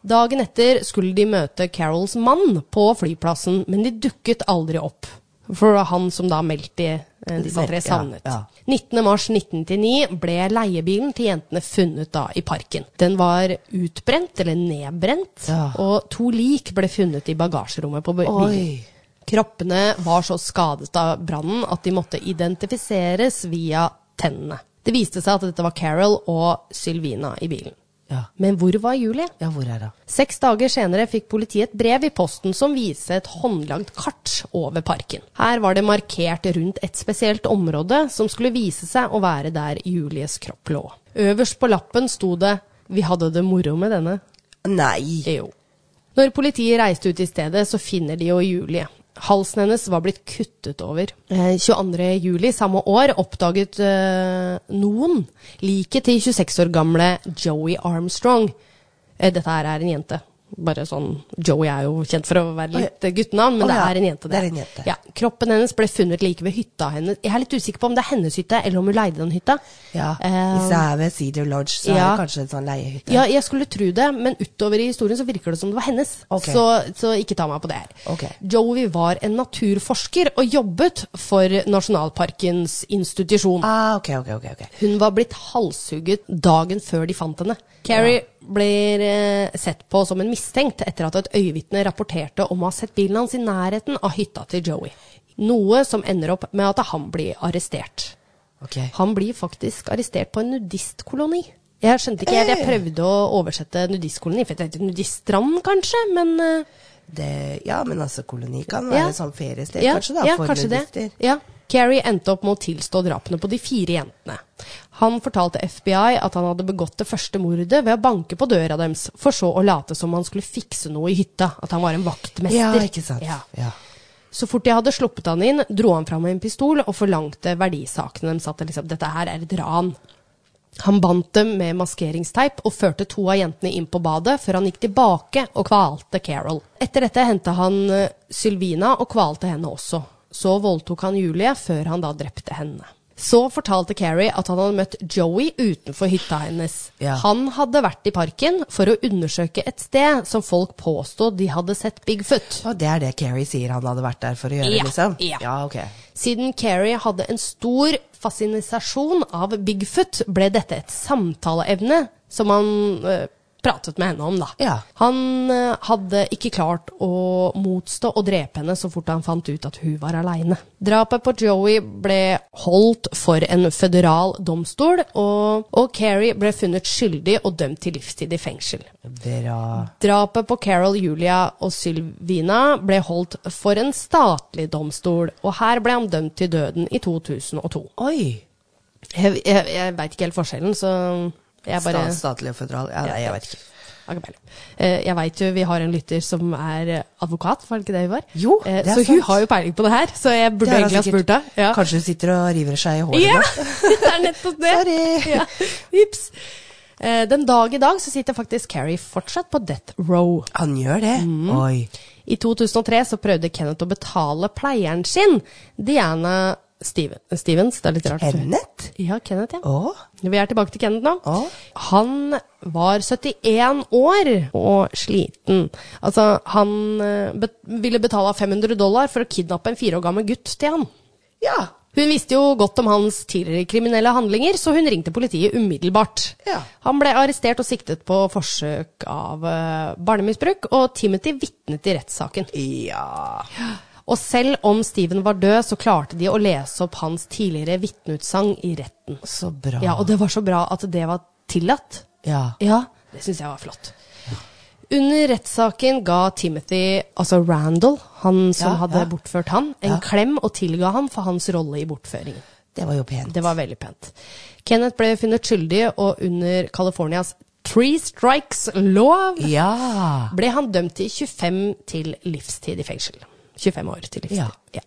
[SPEAKER 1] Dagen etter skulle de møte Carols mann på flyplassen, men de dukket aldri opp. For det var han som da meldte eh, disse tre
[SPEAKER 2] Ja,
[SPEAKER 1] savnet.
[SPEAKER 2] ja.
[SPEAKER 1] 19. mars 1999 ble leiebilen til jentene funnet da i parken. Den var utbrent, eller nedbrent,
[SPEAKER 2] Ja.
[SPEAKER 1] og to lik ble funnet i bagasjerommet på bilen.
[SPEAKER 2] Oi.
[SPEAKER 1] Kroppene var så skadet av brannen at de måtte identifiseres via tennene. Det viste seg at dette var Carol og Sylvina i bilen.
[SPEAKER 2] Ja.
[SPEAKER 1] Men hvor var Julie?
[SPEAKER 2] Ja, hvor er det?
[SPEAKER 1] Seks dager senere fikk politiet et brev i posten som viste et håndlagd kart over parken. Her var det markert rundt et spesielt område som skulle vise seg å være der Julies kropp lå. Øverst på lappen sto det 'Vi hadde det moro med denne'.
[SPEAKER 2] Nei.
[SPEAKER 1] Jo. Når politiet reiste ut i stedet, så finner de jo Julie. Halsen hennes var blitt kuttet over. Eh, 22. juli samme år oppdaget eh, noen liket til 26 år gamle Joey Armstrong. Eh, dette her er en jente. Bare sånn, Joey er jo kjent for å være litt eh, guttenavn, men
[SPEAKER 2] Å ja,
[SPEAKER 1] det er en jente.
[SPEAKER 2] det er en jente.
[SPEAKER 1] Ja, kroppen hennes ble funnet like ved hytta hennes. Jeg er litt usikker på om det er hennes hytte, eller om hun leide den hytta.
[SPEAKER 2] Ja.
[SPEAKER 1] Eh,
[SPEAKER 2] Hvis det er ved Cedar Lodge,
[SPEAKER 1] ja.
[SPEAKER 2] så er det kanskje en sånn leiehytte.
[SPEAKER 1] ja, jeg skulle tro det, men utover i historien så virker det som det var hennes.
[SPEAKER 2] Ok.
[SPEAKER 1] Så, så ikke ta meg på det her.
[SPEAKER 2] Ok.
[SPEAKER 1] Joey var en naturforsker og jobbet for nasjonalparkens institusjon.
[SPEAKER 2] Ah, ok, ok, ok. ok.
[SPEAKER 1] Hun var blitt halshugget dagen før de fant henne. Carrie blir eh, sett på som en mistenkt etter at et øyevitne rapporterte om å ha sett bilen hans i nærheten av hytta til Joey. Noe som ender opp med at han blir arrestert.
[SPEAKER 2] Ok.
[SPEAKER 1] Han blir faktisk arrestert på en nudistkoloni. Jeg skjønte ikke
[SPEAKER 2] Eh.
[SPEAKER 1] helt, jeg prøvde å oversette nudistkoloni, for det heter nudiststrand kanskje, men eh,
[SPEAKER 2] Det, ja, men altså, koloni kan
[SPEAKER 1] Ja.
[SPEAKER 2] være et sånn feriested,
[SPEAKER 1] ja,
[SPEAKER 2] kanskje, da,
[SPEAKER 1] ja,
[SPEAKER 2] for
[SPEAKER 1] kanskje
[SPEAKER 2] nudister.
[SPEAKER 1] Det. Ja. Carrie endte opp med å tilstå drapene på de fire jentene. Han fortalte FBI at han hadde begått det første mordet ved å banke på døra deres, for så å late som han skulle fikse noe i hytta, at han var en
[SPEAKER 2] Ja,
[SPEAKER 1] vaktmester.
[SPEAKER 2] ikke sant.
[SPEAKER 1] Ja.
[SPEAKER 2] Ja.
[SPEAKER 1] Så fort de hadde sluppet han inn, dro han fram en pistol og forlangte verdisakene deres. At det liksom, dette her er et ran. Han bandt dem med maskeringsteip og førte to av jentene inn på badet, før han gikk tilbake og kvalte Carol. Etter dette henta han eh, Sylvina og kvalte henne også. Så voldtok han Julie, før han da drepte henne. Så fortalte Carrie at han hadde møtt Joey utenfor hytta hennes.
[SPEAKER 2] Ja.
[SPEAKER 1] Han hadde vært i parken for å undersøke et sted som folk påstod de hadde sett Bigfoot.
[SPEAKER 2] Og det er det Carrie sier han hadde vært der for å gjøre,
[SPEAKER 1] Ja,
[SPEAKER 2] liksom?
[SPEAKER 1] ja.
[SPEAKER 2] ja, ok.
[SPEAKER 1] Siden Carrie hadde en stor fascinasjon av Bigfoot, ble dette et samtaleevne som han eh, pratet med henne om, da.
[SPEAKER 2] Ja.
[SPEAKER 1] Han eh, hadde ikke klart å motstå å drepe henne så fort han fant ut at hun var aleine. Drapet på Joey ble holdt for en føderal domstol, og, og Carrie ble funnet skyldig og dømt til livstid i fengsel.
[SPEAKER 2] Bra.
[SPEAKER 1] Drapet på Carol, Julia og Sylvina ble holdt for en statlig domstol, og her ble han dømt til døden i 2002.
[SPEAKER 2] Oi!
[SPEAKER 1] Jeg, jeg, jeg veit ikke helt forskjellen, så jeg bare
[SPEAKER 2] Stat, statlig og føderal. Ja, nei, jeg vet ikke.
[SPEAKER 1] Har ikke peiling. Eh, Jeg veit jo vi har en lytter som er advokat, var det ikke det vi var?
[SPEAKER 2] Jo,
[SPEAKER 1] Eh,
[SPEAKER 2] det er
[SPEAKER 1] Så hun
[SPEAKER 2] sant.
[SPEAKER 1] har jo peiling på det her, så jeg burde
[SPEAKER 2] Det har han
[SPEAKER 1] egentlig ha
[SPEAKER 2] sikkert-
[SPEAKER 1] spurt deg. Ja.
[SPEAKER 2] Kanskje hun sitter og river seg i håret
[SPEAKER 1] Ja,
[SPEAKER 2] nå?
[SPEAKER 1] det er nettopp det.
[SPEAKER 2] Sorry.
[SPEAKER 1] Ja. Ups. Eh, Den dag i dag så sitter faktisk Carrie fortsatt på death row.
[SPEAKER 2] Han gjør det?
[SPEAKER 1] Mm.
[SPEAKER 2] Oi.
[SPEAKER 1] I 2003 så prøvde Kenneth å betale pleieren sin, Diana Steven, Stevens. Det er litt rart.
[SPEAKER 2] Kenneth?
[SPEAKER 1] Ja, Kenneth, ja.
[SPEAKER 2] Å?
[SPEAKER 1] Vi er tilbake til Kenneth nå.
[SPEAKER 2] Å.
[SPEAKER 1] Han var 71 år og sliten. Altså, han eh, bet ville betale 500 dollar for å kidnappe en fire år gammel gutt til han.
[SPEAKER 2] Ja.
[SPEAKER 1] Hun visste jo godt om hans tidligere kriminelle handlinger, så hun ringte politiet umiddelbart.
[SPEAKER 2] Ja.
[SPEAKER 1] Han ble arrestert og siktet på forsøk av eh, barnemisbruk, og Timothy vitnet i rettssaken.
[SPEAKER 2] Ja.
[SPEAKER 1] Og selv om Steven var død, så klarte de å lese opp hans tidligere vitneutsagn i retten.
[SPEAKER 2] Så bra.
[SPEAKER 1] Ja, Og det var så bra at det var tillatt.
[SPEAKER 2] Ja.
[SPEAKER 1] Ja, det syns jeg var flott. Under rettssaken ga Timothy, altså Randall, han som
[SPEAKER 2] Ja,
[SPEAKER 1] hadde
[SPEAKER 2] ja.
[SPEAKER 1] bortført han, en klem og tilga han for hans rolle i bortføringen.
[SPEAKER 2] Det var jo pent.
[SPEAKER 1] Det var veldig pent. Kenneth ble funnet skyldig, og under Californias Three Strikes-lov
[SPEAKER 2] Ja.
[SPEAKER 1] ble han dømt til 25 til livstid i fengsel. 25 år til livstid.
[SPEAKER 2] Ja.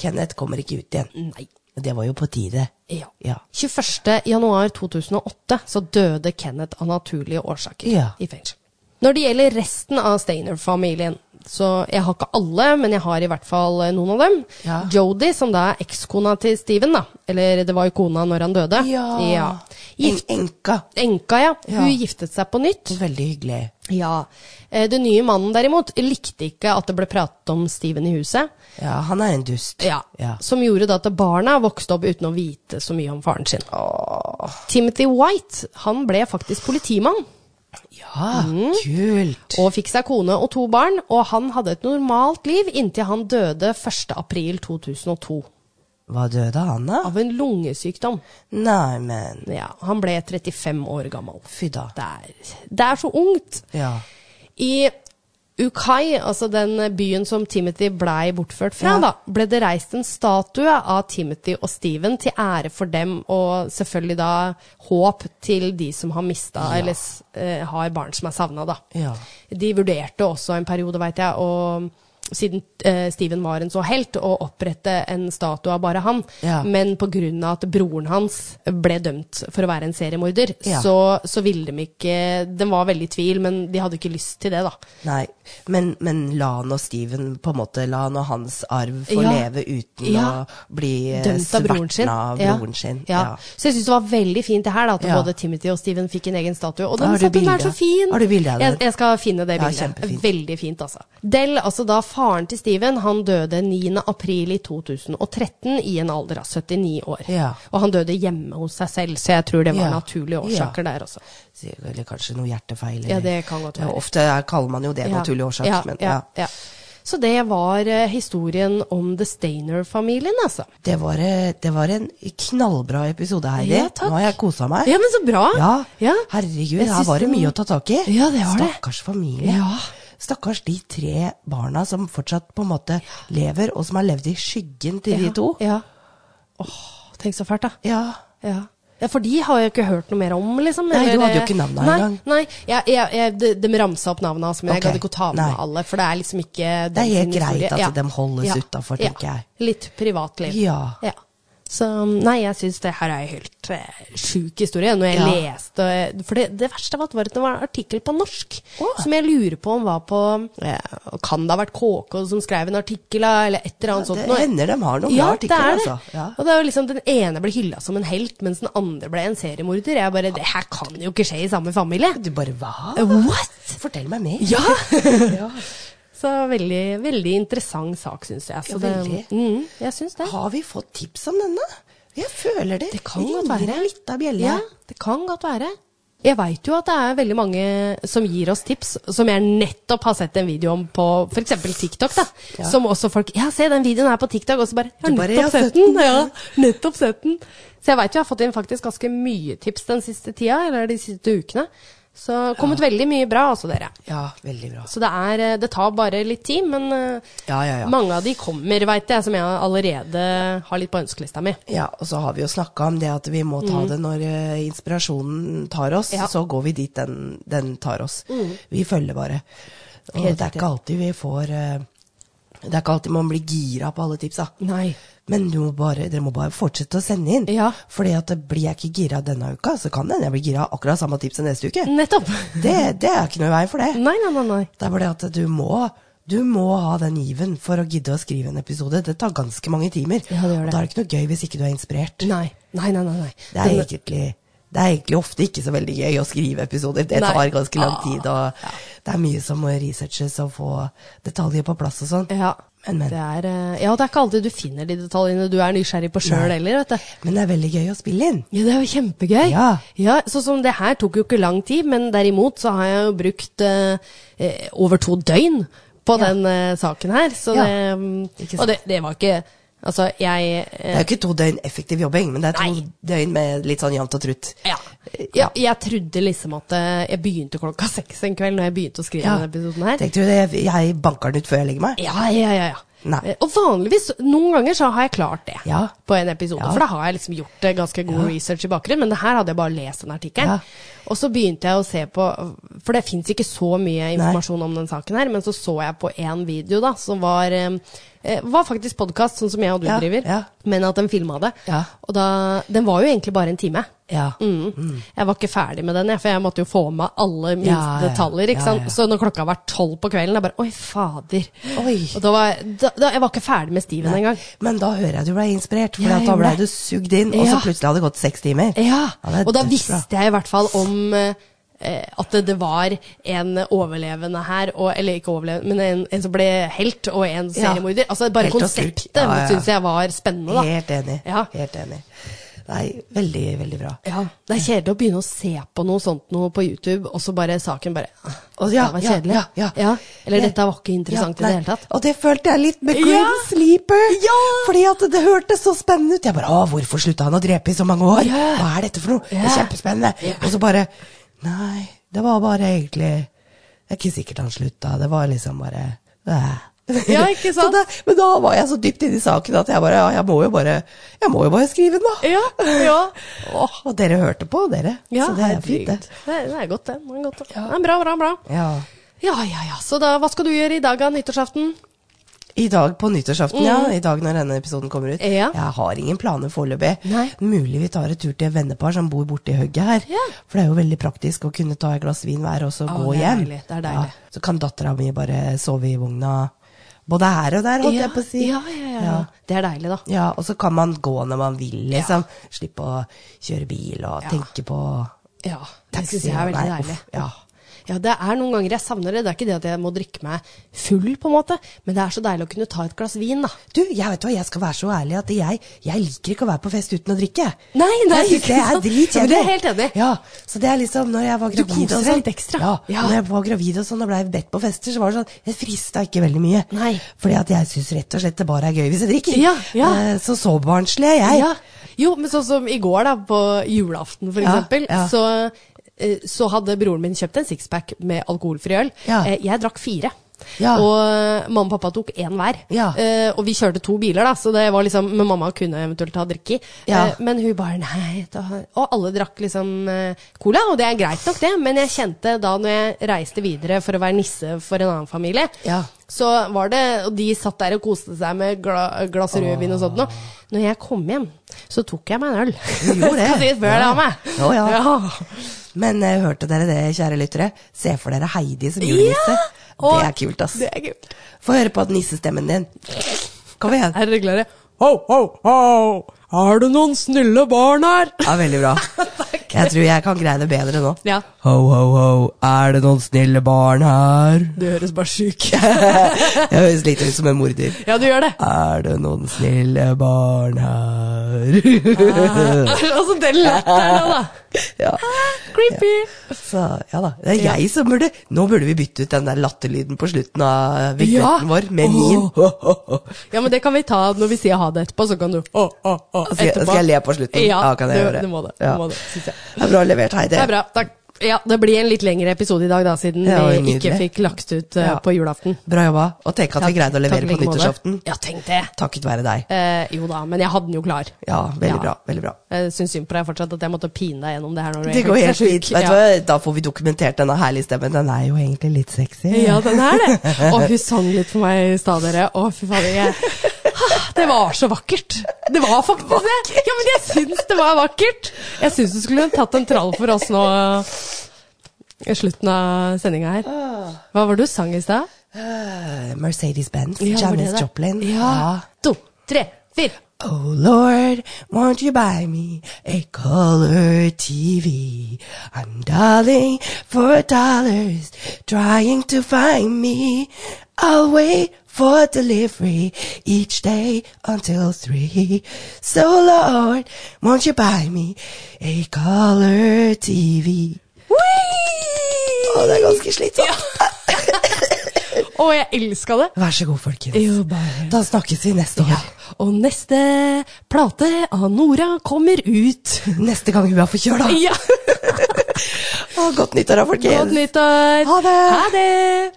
[SPEAKER 2] Kenneth kommer ikke ut igjen.
[SPEAKER 1] Nei.
[SPEAKER 2] Det var jo på tide.
[SPEAKER 1] Ja.
[SPEAKER 2] Ja.
[SPEAKER 1] 21. januar 2008 så døde Kenneth av naturlige årsaker
[SPEAKER 2] Ja.
[SPEAKER 1] i fengsel. Når det gjelder resten av Steiner-familien, så jeg har ikke alle, men jeg har i hvert fall eh, noen av dem.
[SPEAKER 2] Ja.
[SPEAKER 1] Jodie, som da er ekskona til Steven, da. Eller det var jo kona når han døde.
[SPEAKER 2] En,
[SPEAKER 1] Gift,
[SPEAKER 2] enka.
[SPEAKER 1] enka, ja.
[SPEAKER 2] Ja.
[SPEAKER 1] Hun giftet seg på nytt.
[SPEAKER 2] Veldig hyggelig.
[SPEAKER 1] Ja. Eh, Den nye mannen derimot likte ikke at det ble pratet om Steven i huset.
[SPEAKER 2] Ja, han er en dust.
[SPEAKER 1] Ja.
[SPEAKER 2] ja.
[SPEAKER 1] Som gjorde da at barna vokste opp uten å vite så mye om faren sin. Timothy White han ble faktisk politimann
[SPEAKER 2] Ja,
[SPEAKER 1] Mm.
[SPEAKER 2] kult.
[SPEAKER 1] og fikk seg kone og to barn. Og han hadde et normalt liv inntil han døde 1.4.2002
[SPEAKER 2] Hva døde han av?
[SPEAKER 1] av en lungesykdom.
[SPEAKER 2] Nei, men
[SPEAKER 1] Ja, Han ble 35 år gammel.
[SPEAKER 2] Fy da.
[SPEAKER 1] Det er, det er så ungt.
[SPEAKER 2] Ja.
[SPEAKER 1] I Ukai, altså den byen som Timothy blei bortført fra,
[SPEAKER 2] Ja.
[SPEAKER 1] da, ble det reist en statue av Timothy og Steven til ære for dem, og selvfølgelig da håp til de som har mista eller s- eh, har barn som er savna, da.
[SPEAKER 2] Ja.
[SPEAKER 1] De vurderte også en periode, veit jeg, og siden eh, Steven var en så helt, å opprette en statue av bare han.
[SPEAKER 2] Ja.
[SPEAKER 1] Men pga. at broren hans ble dømt for å være en seriemorder,
[SPEAKER 2] Ja.
[SPEAKER 1] så, så ville de ikke De var veldig i tvil, men de hadde ikke lyst til det, da.
[SPEAKER 2] Nei, men, men la han og Steven på en måte La han og hans arv få
[SPEAKER 1] Ja.
[SPEAKER 2] leve uten
[SPEAKER 1] Ja.
[SPEAKER 2] å bli eh,
[SPEAKER 1] Dømt av broren sin.
[SPEAKER 2] svertna av broren sin.
[SPEAKER 1] Ja.
[SPEAKER 2] Ja.
[SPEAKER 1] Så jeg syns det var veldig fint det her, da, at
[SPEAKER 2] Ja.
[SPEAKER 1] både Timothy og Steven fikk en egen statue. Og
[SPEAKER 2] Har
[SPEAKER 1] den
[SPEAKER 2] du
[SPEAKER 1] statuen er
[SPEAKER 2] bilde?
[SPEAKER 1] så fin!
[SPEAKER 2] Har du bilde av den?
[SPEAKER 1] Jeg, jeg skal finne det
[SPEAKER 2] Ja,
[SPEAKER 1] bildet.
[SPEAKER 2] kjempefint.
[SPEAKER 1] veldig fint, altså. Del, altså da faren til Steven, han døde 9. april i 2013 i en alder av 79 år.
[SPEAKER 2] Ja.
[SPEAKER 1] Og han døde hjemme hos seg selv, så jeg tror det var
[SPEAKER 2] Ja.
[SPEAKER 1] naturlige årsaker der også.
[SPEAKER 2] Så- Eller kanskje noe hjertefeil.
[SPEAKER 1] Ja,
[SPEAKER 2] eller-
[SPEAKER 1] det kan godt være.
[SPEAKER 2] Ja, ofte er- kaller man jo det naturlig årsak,
[SPEAKER 1] ja,
[SPEAKER 2] men ja.
[SPEAKER 1] ja, ja. Så det var eh, historien om The Stainer-familien, altså.
[SPEAKER 2] Det, var, eh, det var en knallbra episode, Heidi.
[SPEAKER 1] Ja, takk.
[SPEAKER 2] Nå har jeg kosa meg.
[SPEAKER 1] Ja, men så bra!
[SPEAKER 2] Ja.
[SPEAKER 1] Ja.
[SPEAKER 2] Herregud,
[SPEAKER 1] Jeg
[SPEAKER 2] her
[SPEAKER 1] syns
[SPEAKER 2] var det
[SPEAKER 1] den-
[SPEAKER 2] mye å ta tak i.
[SPEAKER 1] Ja, det var det.
[SPEAKER 2] Stakkars familie.
[SPEAKER 1] Ja.
[SPEAKER 2] Stakkars de tre barna som fortsatt på en måte lever, og som har levd i skyggen til
[SPEAKER 1] Ja,
[SPEAKER 2] de to.
[SPEAKER 1] ja. Åh, tenk så fælt, da.
[SPEAKER 2] Ja.
[SPEAKER 1] Ja. ja, for de har jeg ikke hørt noe mer om, liksom.
[SPEAKER 2] Nei, du
[SPEAKER 1] eller-
[SPEAKER 2] hadde jo ikke navnet
[SPEAKER 1] nei,
[SPEAKER 2] engang.
[SPEAKER 1] Nei, jeg, jeg, jeg, de, de ramsa opp navnene hans, men
[SPEAKER 2] Ok.
[SPEAKER 1] jeg gadd ikke å ta med
[SPEAKER 2] Nei.
[SPEAKER 1] alle, for det er liksom ikke
[SPEAKER 2] Det er helt
[SPEAKER 1] den historien.
[SPEAKER 2] greit at de holdes utenfor, tenker
[SPEAKER 1] ja.
[SPEAKER 2] jeg.
[SPEAKER 1] Litt privatliv.
[SPEAKER 2] Ja.
[SPEAKER 1] Ja. Så um, nei, jeg syns det her er en helt eh, sjuk historie. Når jeg
[SPEAKER 2] Ja.
[SPEAKER 1] leste eh, For det, det verste av alt var at det var en artikkel på norsk
[SPEAKER 2] Åh.
[SPEAKER 1] som jeg lurer på om var på eh, Kan det ha vært KK som skrev en artikkel, da, eller et eller annet
[SPEAKER 2] Det
[SPEAKER 1] sånt noe?
[SPEAKER 2] hender de har noen bra artikler, altså. Ja.
[SPEAKER 1] Og det er jo liksom Den ene ble hylla som en helt, mens den andre ble en seriemorder. Jeg bare Det her kan jo ikke skje i samme familie!
[SPEAKER 2] Du bare hva?
[SPEAKER 1] Eh, What?!
[SPEAKER 2] Fortell meg mer.
[SPEAKER 1] Ja!
[SPEAKER 2] Ja.
[SPEAKER 1] Så veldig, veldig interessant sak, syns jeg. Så
[SPEAKER 2] Ja,
[SPEAKER 1] det,
[SPEAKER 2] veldig.
[SPEAKER 1] mm, jeg syns det.
[SPEAKER 2] Har vi fått tips om denne? Jeg føler det.
[SPEAKER 1] Det kan godt være.
[SPEAKER 2] Ringer en lita bjelle.
[SPEAKER 1] Ja, det kan godt være. Jeg veit jo at det er veldig mange som gir oss tips, som jeg nettopp har sett en video om på f.eks. TikTok. da,
[SPEAKER 2] Ja.
[SPEAKER 1] Som også folk Ja, se den videoen her på TikTok, og så bare Jeg har
[SPEAKER 2] Du bare,
[SPEAKER 1] nettopp
[SPEAKER 2] «Jeg har
[SPEAKER 1] sett den! Ja, nettopp sett den. Så jeg veit jo jeg har fått inn faktisk ganske mye tips den siste tida, eller de siste ukene. Så det har kommet veldig mye bra, altså, dere.
[SPEAKER 2] Ja, veldig bra.
[SPEAKER 1] Så det, er, eh, det tar bare litt tid, men eh,
[SPEAKER 2] Ja, ja, ja.
[SPEAKER 1] mange av de kommer, veit jeg, som jeg allerede har litt på ønskelista mi.
[SPEAKER 2] Ja, og så har vi jo snakka om det at vi må ta det når eh, inspirasjonen tar oss.
[SPEAKER 1] Mm. Ja. Mm.
[SPEAKER 2] Så går vi dit den, den tar oss. Vi følger bare. Og
[SPEAKER 1] Helt
[SPEAKER 2] det er
[SPEAKER 1] riktig.
[SPEAKER 2] ikke alltid vi får eh, Det er ikke alltid man blir gira på alle tipsa.
[SPEAKER 1] Nei.
[SPEAKER 2] Men du må bare, dere må bare fortsette å sende inn.
[SPEAKER 1] Ja.
[SPEAKER 2] Fordi at det blir jeg ikke gira denne uka, så kan det hende jeg blir gira av akkurat samme tipset neste uke.
[SPEAKER 1] Nettopp.
[SPEAKER 2] Det, det er ikke noe i veien for det.
[SPEAKER 1] Nei, nei, nei. nei.
[SPEAKER 2] Det er bare det at du må, du må ha den given for å gidde å skrive en episode. Det tar ganske mange timer.
[SPEAKER 1] Ja, det gjør det.
[SPEAKER 2] Og da er det ikke noe gøy hvis ikke du er inspirert.
[SPEAKER 1] Nei, nei, nei. nei, nei.
[SPEAKER 2] Det er,
[SPEAKER 1] Den-
[SPEAKER 2] egentlig, det er egentlig ofte ikke så veldig gøy å skrive episoder. Det
[SPEAKER 1] Nei.
[SPEAKER 2] tar ganske lang
[SPEAKER 1] Ah,
[SPEAKER 2] tid, og det er mye som må researches og få detaljer på plass og sånn.
[SPEAKER 1] ja.
[SPEAKER 2] Men, men.
[SPEAKER 1] Det er, eh, ja, det er ikke alltid du finner de detaljene du er nysgjerrig på sjøl
[SPEAKER 2] Nei.
[SPEAKER 1] heller. vet du.
[SPEAKER 2] Men det er veldig gøy å spille inn.
[SPEAKER 1] Ja, det er jo kjempegøy.
[SPEAKER 2] Ja.
[SPEAKER 1] Sånn som det her tok jo ikke lang tid, men derimot så har jeg jo brukt eh, eh, over to døgn på
[SPEAKER 2] Ja.
[SPEAKER 1] den eh, saken her. Så
[SPEAKER 2] Ja.
[SPEAKER 1] det, mm,
[SPEAKER 2] Ikke sant.
[SPEAKER 1] og det, det var ikke Altså, jeg
[SPEAKER 2] Det
[SPEAKER 1] eh,
[SPEAKER 2] er jo ikke to døgn effektiv jobbing, men det er to
[SPEAKER 1] Nei.
[SPEAKER 2] døgn med litt sånn jevnt og trutt.
[SPEAKER 1] ja.
[SPEAKER 2] Ja.
[SPEAKER 1] Jeg, jeg trodde liksom at eh, jeg begynte klokka seks en kveld når jeg begynte å skrive
[SPEAKER 2] Ja.
[SPEAKER 1] denne episoden her.
[SPEAKER 2] Tenkte du det? Jeg- Jeg banker den ut før jeg legger meg.
[SPEAKER 1] Ja, ja, ja. ja.
[SPEAKER 2] Nei.
[SPEAKER 1] Eh, Og vanligvis, noen ganger så har jeg klart det
[SPEAKER 2] Ja.
[SPEAKER 1] på en episode.
[SPEAKER 2] Ja.
[SPEAKER 1] For da har jeg liksom gjort eh, ganske god research i bakgrunnen, men det her hadde jeg bare lest den artikkelen.
[SPEAKER 2] Ja.
[SPEAKER 1] Og så begynte jeg å se på, for det fins ikke så mye informasjon om den saken her, men så så jeg på én video da, som var eh, eh, var faktisk podkast, sånn som jeg og du
[SPEAKER 2] Ja,
[SPEAKER 1] driver,
[SPEAKER 2] ja.
[SPEAKER 1] men at den filma det.
[SPEAKER 2] Ja.
[SPEAKER 1] Og da Den var jo egentlig bare en time.
[SPEAKER 2] Ja.
[SPEAKER 1] Mm. Jeg var ikke ferdig med den, jeg, for jeg måtte jo få med alle minste
[SPEAKER 2] Ja, ja, ja.
[SPEAKER 1] detaljer. Ikke
[SPEAKER 2] Ja,
[SPEAKER 1] sant?
[SPEAKER 2] ja.
[SPEAKER 1] Så når klokka var tolv på kvelden, jeg bare Oi, fader.
[SPEAKER 2] Oi.
[SPEAKER 1] Og da var, da, da, jeg var ikke ferdig med Steven
[SPEAKER 2] Nei.
[SPEAKER 1] engang.
[SPEAKER 2] Men da hører jeg du ble inspirert, for
[SPEAKER 1] Ja, jeg
[SPEAKER 2] da ble
[SPEAKER 1] gjorde det.
[SPEAKER 2] du sugd inn, og så
[SPEAKER 1] Ja.
[SPEAKER 2] plutselig hadde det gått seks timer.
[SPEAKER 1] Ja.
[SPEAKER 2] det er
[SPEAKER 1] Og da
[SPEAKER 2] dødsbra.
[SPEAKER 1] visste jeg i hvert fall om eh, eh, at det, det var en overlevende her, og, eller ikke overlevende, men en, en som ble helt, og en
[SPEAKER 2] Ja.
[SPEAKER 1] seriemorder. Altså bare
[SPEAKER 2] Helt og skurk.
[SPEAKER 1] konseptet
[SPEAKER 2] Ja, ja, ja.
[SPEAKER 1] syns jeg var spennende, da.
[SPEAKER 2] Helt enig.
[SPEAKER 1] Ja.
[SPEAKER 2] Helt enig. Nei, veldig, veldig bra.
[SPEAKER 1] Ja, Det er kjedelig å begynne å se på noe sånt noe på YouTube, og så bare saken bare «Ah,
[SPEAKER 2] Og ja,
[SPEAKER 1] Det var
[SPEAKER 2] ja,
[SPEAKER 1] kjedelig.
[SPEAKER 2] ja, ja.
[SPEAKER 1] Eller
[SPEAKER 2] Ja.
[SPEAKER 1] dette var ikke interessant
[SPEAKER 2] Ja,
[SPEAKER 1] i
[SPEAKER 2] nei.
[SPEAKER 1] det hele tatt.
[SPEAKER 2] Og det følte jeg litt med
[SPEAKER 1] Ja.
[SPEAKER 2] Green Sleeper.
[SPEAKER 1] Ja.
[SPEAKER 2] Fordi at det hørtes så spennende ut. Jeg bare Å, hvorfor slutta han å drepe i så mange år?
[SPEAKER 1] Ja.
[SPEAKER 2] Hva er dette for noe? Det er
[SPEAKER 1] Ja.
[SPEAKER 2] kjempespennende. Og så bare Nei, det var bare egentlig Det er ikke sikkert han slutta. Det var liksom bare øh.
[SPEAKER 1] Ja, ikke sant?
[SPEAKER 2] Så det, men da var jeg så dypt inne i saken at jeg bare Ja, jeg må jo bare, jeg må jo bare skrive den, da.
[SPEAKER 1] Ja, ja.
[SPEAKER 2] Åh, og dere hørte på, dere.
[SPEAKER 1] Ja,
[SPEAKER 2] så det er fint,
[SPEAKER 1] herregud.
[SPEAKER 2] det.
[SPEAKER 1] Det er, det er godt, det. Det er, godt, det. det er bra, bra, bra.
[SPEAKER 2] Ja.
[SPEAKER 1] Ja, ja, ja. Så da, hva skal du gjøre i dag av nyttårsaften?
[SPEAKER 2] I dag på nyttårsaften, ja. I dag når denne episoden kommer ut.
[SPEAKER 1] Mm. Ja.
[SPEAKER 2] Jeg har ingen planer foreløpig.
[SPEAKER 1] Nei.
[SPEAKER 2] Mulig vi tar et tur til et vennepar som bor borti hugget her.
[SPEAKER 1] Ja.
[SPEAKER 2] For det er jo veldig praktisk å kunne ta et glass vin hver og
[SPEAKER 1] Å,
[SPEAKER 2] så gå
[SPEAKER 1] det er
[SPEAKER 2] hjem.
[SPEAKER 1] deilig, det er deilig.
[SPEAKER 2] Ja. Så kan dattera mi bare sove i vogna både her og der, holdt jeg på å si.
[SPEAKER 1] Ja, ja, ja, ja.
[SPEAKER 2] Ja.
[SPEAKER 1] Det er deilig, da.
[SPEAKER 2] Ja, og så kan man gå når man vil, liksom. Slippe å kjøre bil og
[SPEAKER 1] Ja.
[SPEAKER 2] tenke på
[SPEAKER 1] Ja, det
[SPEAKER 2] taxi.
[SPEAKER 1] syns jeg er
[SPEAKER 2] og-
[SPEAKER 1] veldig
[SPEAKER 2] nei,
[SPEAKER 1] deilig.
[SPEAKER 2] uff, ja.
[SPEAKER 1] Ja, det er noen ganger jeg savner det. Det er ikke det at jeg må drikke meg full, på en måte, men det er så deilig å kunne ta et glass vin, da.
[SPEAKER 2] Du, jeg vet hva, jeg skal være så ærlig at jeg, jeg liker ikke å være på fest uten å drikke.
[SPEAKER 1] Nei, nei,
[SPEAKER 2] Jeg synes
[SPEAKER 1] ikke
[SPEAKER 2] det er
[SPEAKER 1] sant? Ja, men
[SPEAKER 2] dritkjedelig.
[SPEAKER 1] det er helt enig.
[SPEAKER 2] Ja, så det er liksom når jeg var
[SPEAKER 1] Du
[SPEAKER 2] gravid
[SPEAKER 1] koser
[SPEAKER 2] og
[SPEAKER 1] deg
[SPEAKER 2] sånn-
[SPEAKER 1] litt ekstra.
[SPEAKER 2] Ja,
[SPEAKER 1] Ja.
[SPEAKER 2] når jeg var gravid og sånn og blei bedt på fester, så var det sånn, jeg frista ikke veldig mye.
[SPEAKER 1] Nei.
[SPEAKER 2] Fordi at jeg syns rett og slett det bare er gøy hvis jeg drikker.
[SPEAKER 1] Ja, ja.
[SPEAKER 2] Eh, Så så barnslig er jeg.
[SPEAKER 1] Ja. Jo, men sånn som i går, da, på julaften for
[SPEAKER 2] Ja,
[SPEAKER 1] eksempel,
[SPEAKER 2] ja.
[SPEAKER 1] Så, eh, så hadde broren min kjøpt en sixpack med alkoholfri øl.
[SPEAKER 2] Ja.
[SPEAKER 1] Eh, Jeg drakk fire.
[SPEAKER 2] Ja.
[SPEAKER 1] Og eh, mamma og pappa tok én hver.
[SPEAKER 2] Ja.
[SPEAKER 1] Eh, og vi kjørte to biler, da, så det var liksom Men mamma kunne eventuelt ha drikke i.
[SPEAKER 2] Ja.
[SPEAKER 1] Eh, men hun bare nei. Da, og alle drakk liksom eh, cola, og det er greit nok, det. Men jeg kjente da når jeg reiste videre for å være nisse for en annen familie,
[SPEAKER 2] Ja.
[SPEAKER 1] så var det Og de satt der og koste seg med gla, glass rødvin og sånt noe. Når jeg kom hjem, så tok jeg meg en øl.
[SPEAKER 2] Du gjorde det.
[SPEAKER 1] Skal si før
[SPEAKER 2] Ja.
[SPEAKER 1] det av meg.
[SPEAKER 2] Å, ja.
[SPEAKER 1] ja.
[SPEAKER 2] Men eh, hørte dere det, kjære lyttere? Se for dere Heidi som julenisse.
[SPEAKER 1] Og-
[SPEAKER 2] Det er kult, ass.
[SPEAKER 1] Det er kult.
[SPEAKER 2] Få høre på nissestemmen din. Kom igjen.
[SPEAKER 1] Er dere klare? Ho, ho, ho! Har du noen snille barn her?
[SPEAKER 2] Ja, veldig bra. Jeg tror jeg kan greie det bedre nå.
[SPEAKER 1] Ja.
[SPEAKER 2] Ho, ho, ho, er det noen snille barn her?
[SPEAKER 1] Du høres bare sjuk
[SPEAKER 2] Jeg høres litt ut som en morder.
[SPEAKER 1] Ja, du gjør det.
[SPEAKER 2] Er det noen snille barn her?
[SPEAKER 1] altså, den latteren da, da.
[SPEAKER 2] ja.
[SPEAKER 1] Creepy.
[SPEAKER 2] Så, ja da. Det er jeg som burde Nå burde vi bytte ut den der latterlyden på slutten av eh, vignetten
[SPEAKER 1] Ja.
[SPEAKER 2] vår med min.
[SPEAKER 1] Ja, men det kan vi ta når vi sier ha det etterpå, så kan du å, å, å
[SPEAKER 2] Skal jeg-
[SPEAKER 1] etterpå.
[SPEAKER 2] skal jeg le på slutten?
[SPEAKER 1] Ja,
[SPEAKER 2] Ja, kan jeg
[SPEAKER 1] du,
[SPEAKER 2] gjøre det?
[SPEAKER 1] Du må det,
[SPEAKER 2] Ja.
[SPEAKER 1] du må det, synes jeg.
[SPEAKER 2] Det er bra levert, Heidi.
[SPEAKER 1] Det er bra, takk. Ja, det blir en litt lengre episode i dag da, siden
[SPEAKER 2] Ja, det var
[SPEAKER 1] vi ikke
[SPEAKER 2] nydelig.
[SPEAKER 1] fikk lagt ut eh,
[SPEAKER 2] Ja.
[SPEAKER 1] på julaften.
[SPEAKER 2] Bra jobba. Og tenk at vi greide å
[SPEAKER 1] Takk
[SPEAKER 2] levere
[SPEAKER 1] i
[SPEAKER 2] på
[SPEAKER 1] like måte.
[SPEAKER 2] nyttårsaften.
[SPEAKER 1] Ja, tenk det.
[SPEAKER 2] Takket være deg.
[SPEAKER 1] Eh, jo da, men jeg hadde den jo klar.
[SPEAKER 2] Ja, veldig
[SPEAKER 1] Ja.
[SPEAKER 2] bra. veldig bra.
[SPEAKER 1] Jeg syns synd på deg fortsatt at jeg måtte pine deg gjennom det her. Når du egentlig
[SPEAKER 2] Det går
[SPEAKER 1] ikke
[SPEAKER 2] helt
[SPEAKER 1] er sjuk.
[SPEAKER 2] fint. Vet du
[SPEAKER 1] ja.
[SPEAKER 2] hva? Da får vi dokumentert denne herlige stemmen. Den er jo egentlig litt sexy.
[SPEAKER 1] Ja, den er det. Og hun sang litt for meg i stad, dere. Å, fy fader. Jeg... Ah, Det var så vakkert. Det var faktisk det. Ja, men jeg syns det var vakkert. Jeg syns du skulle tatt en trall for oss nå eh, i slutten av sendinga her.
[SPEAKER 2] Ah.
[SPEAKER 1] Hva var det du sang i stad?
[SPEAKER 2] Eh, Mercedes-Benz,
[SPEAKER 1] Ja, var det
[SPEAKER 2] Janis
[SPEAKER 1] det?
[SPEAKER 2] Joplin.
[SPEAKER 1] Ja. To, tre, fire.
[SPEAKER 2] Oh Lord, won't you buy me a color TV? I'm darling for dollars, trying to find me. I'll wait for delivery each day until three. So Lord, won't you buy me a color TV? Å, det er ganske slitsomt.
[SPEAKER 1] Å, jeg elska det.
[SPEAKER 2] Vær så god, folkens.
[SPEAKER 1] Jo, bare-
[SPEAKER 2] Da snakkes vi neste år.
[SPEAKER 1] Ja. Og neste plate av Nora kommer ut.
[SPEAKER 2] Neste gang hun er forkjøla.
[SPEAKER 1] Ja.
[SPEAKER 2] Å, Godt nyttår, da, folkens.
[SPEAKER 1] Godt nyttår.
[SPEAKER 2] Ha det.
[SPEAKER 1] Ha det.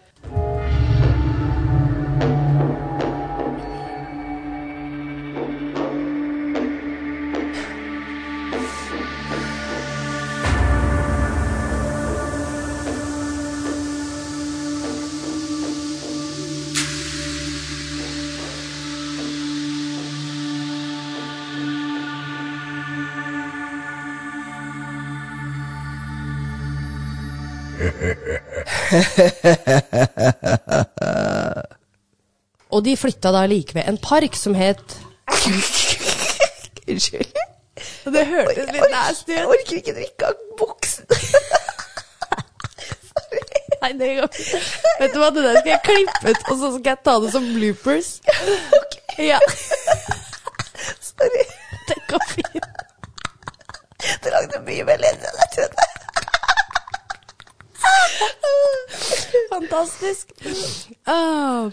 [SPEAKER 1] Og de flytta da like ved en park som het
[SPEAKER 2] Unnskyld.
[SPEAKER 1] Det hørtes
[SPEAKER 2] Jeg orker, jeg orker ikke drikke av buksen.
[SPEAKER 1] Nei, det går ikke. Vet du hva, det der skal jeg klippe ut, og så skal jeg ta det som bloopers. Ja,
[SPEAKER 2] Sorry.
[SPEAKER 1] det går fint.
[SPEAKER 2] Det lagde mye mer ledd enn jeg trodde.
[SPEAKER 1] Fantastisk. Ah.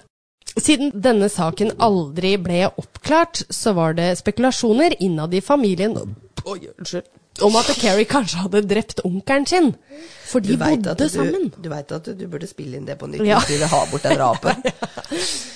[SPEAKER 1] Siden denne saken aldri ble oppklart, så var det spekulasjoner innad i familien Oi, unnskyld. om at Carrie kanskje hadde drept onkelen sin. For de bodde
[SPEAKER 2] du,
[SPEAKER 1] sammen.
[SPEAKER 2] du vet at du, du burde spille inn det på nytt
[SPEAKER 1] Ja.
[SPEAKER 2] hvis du vil ha bort den rapen.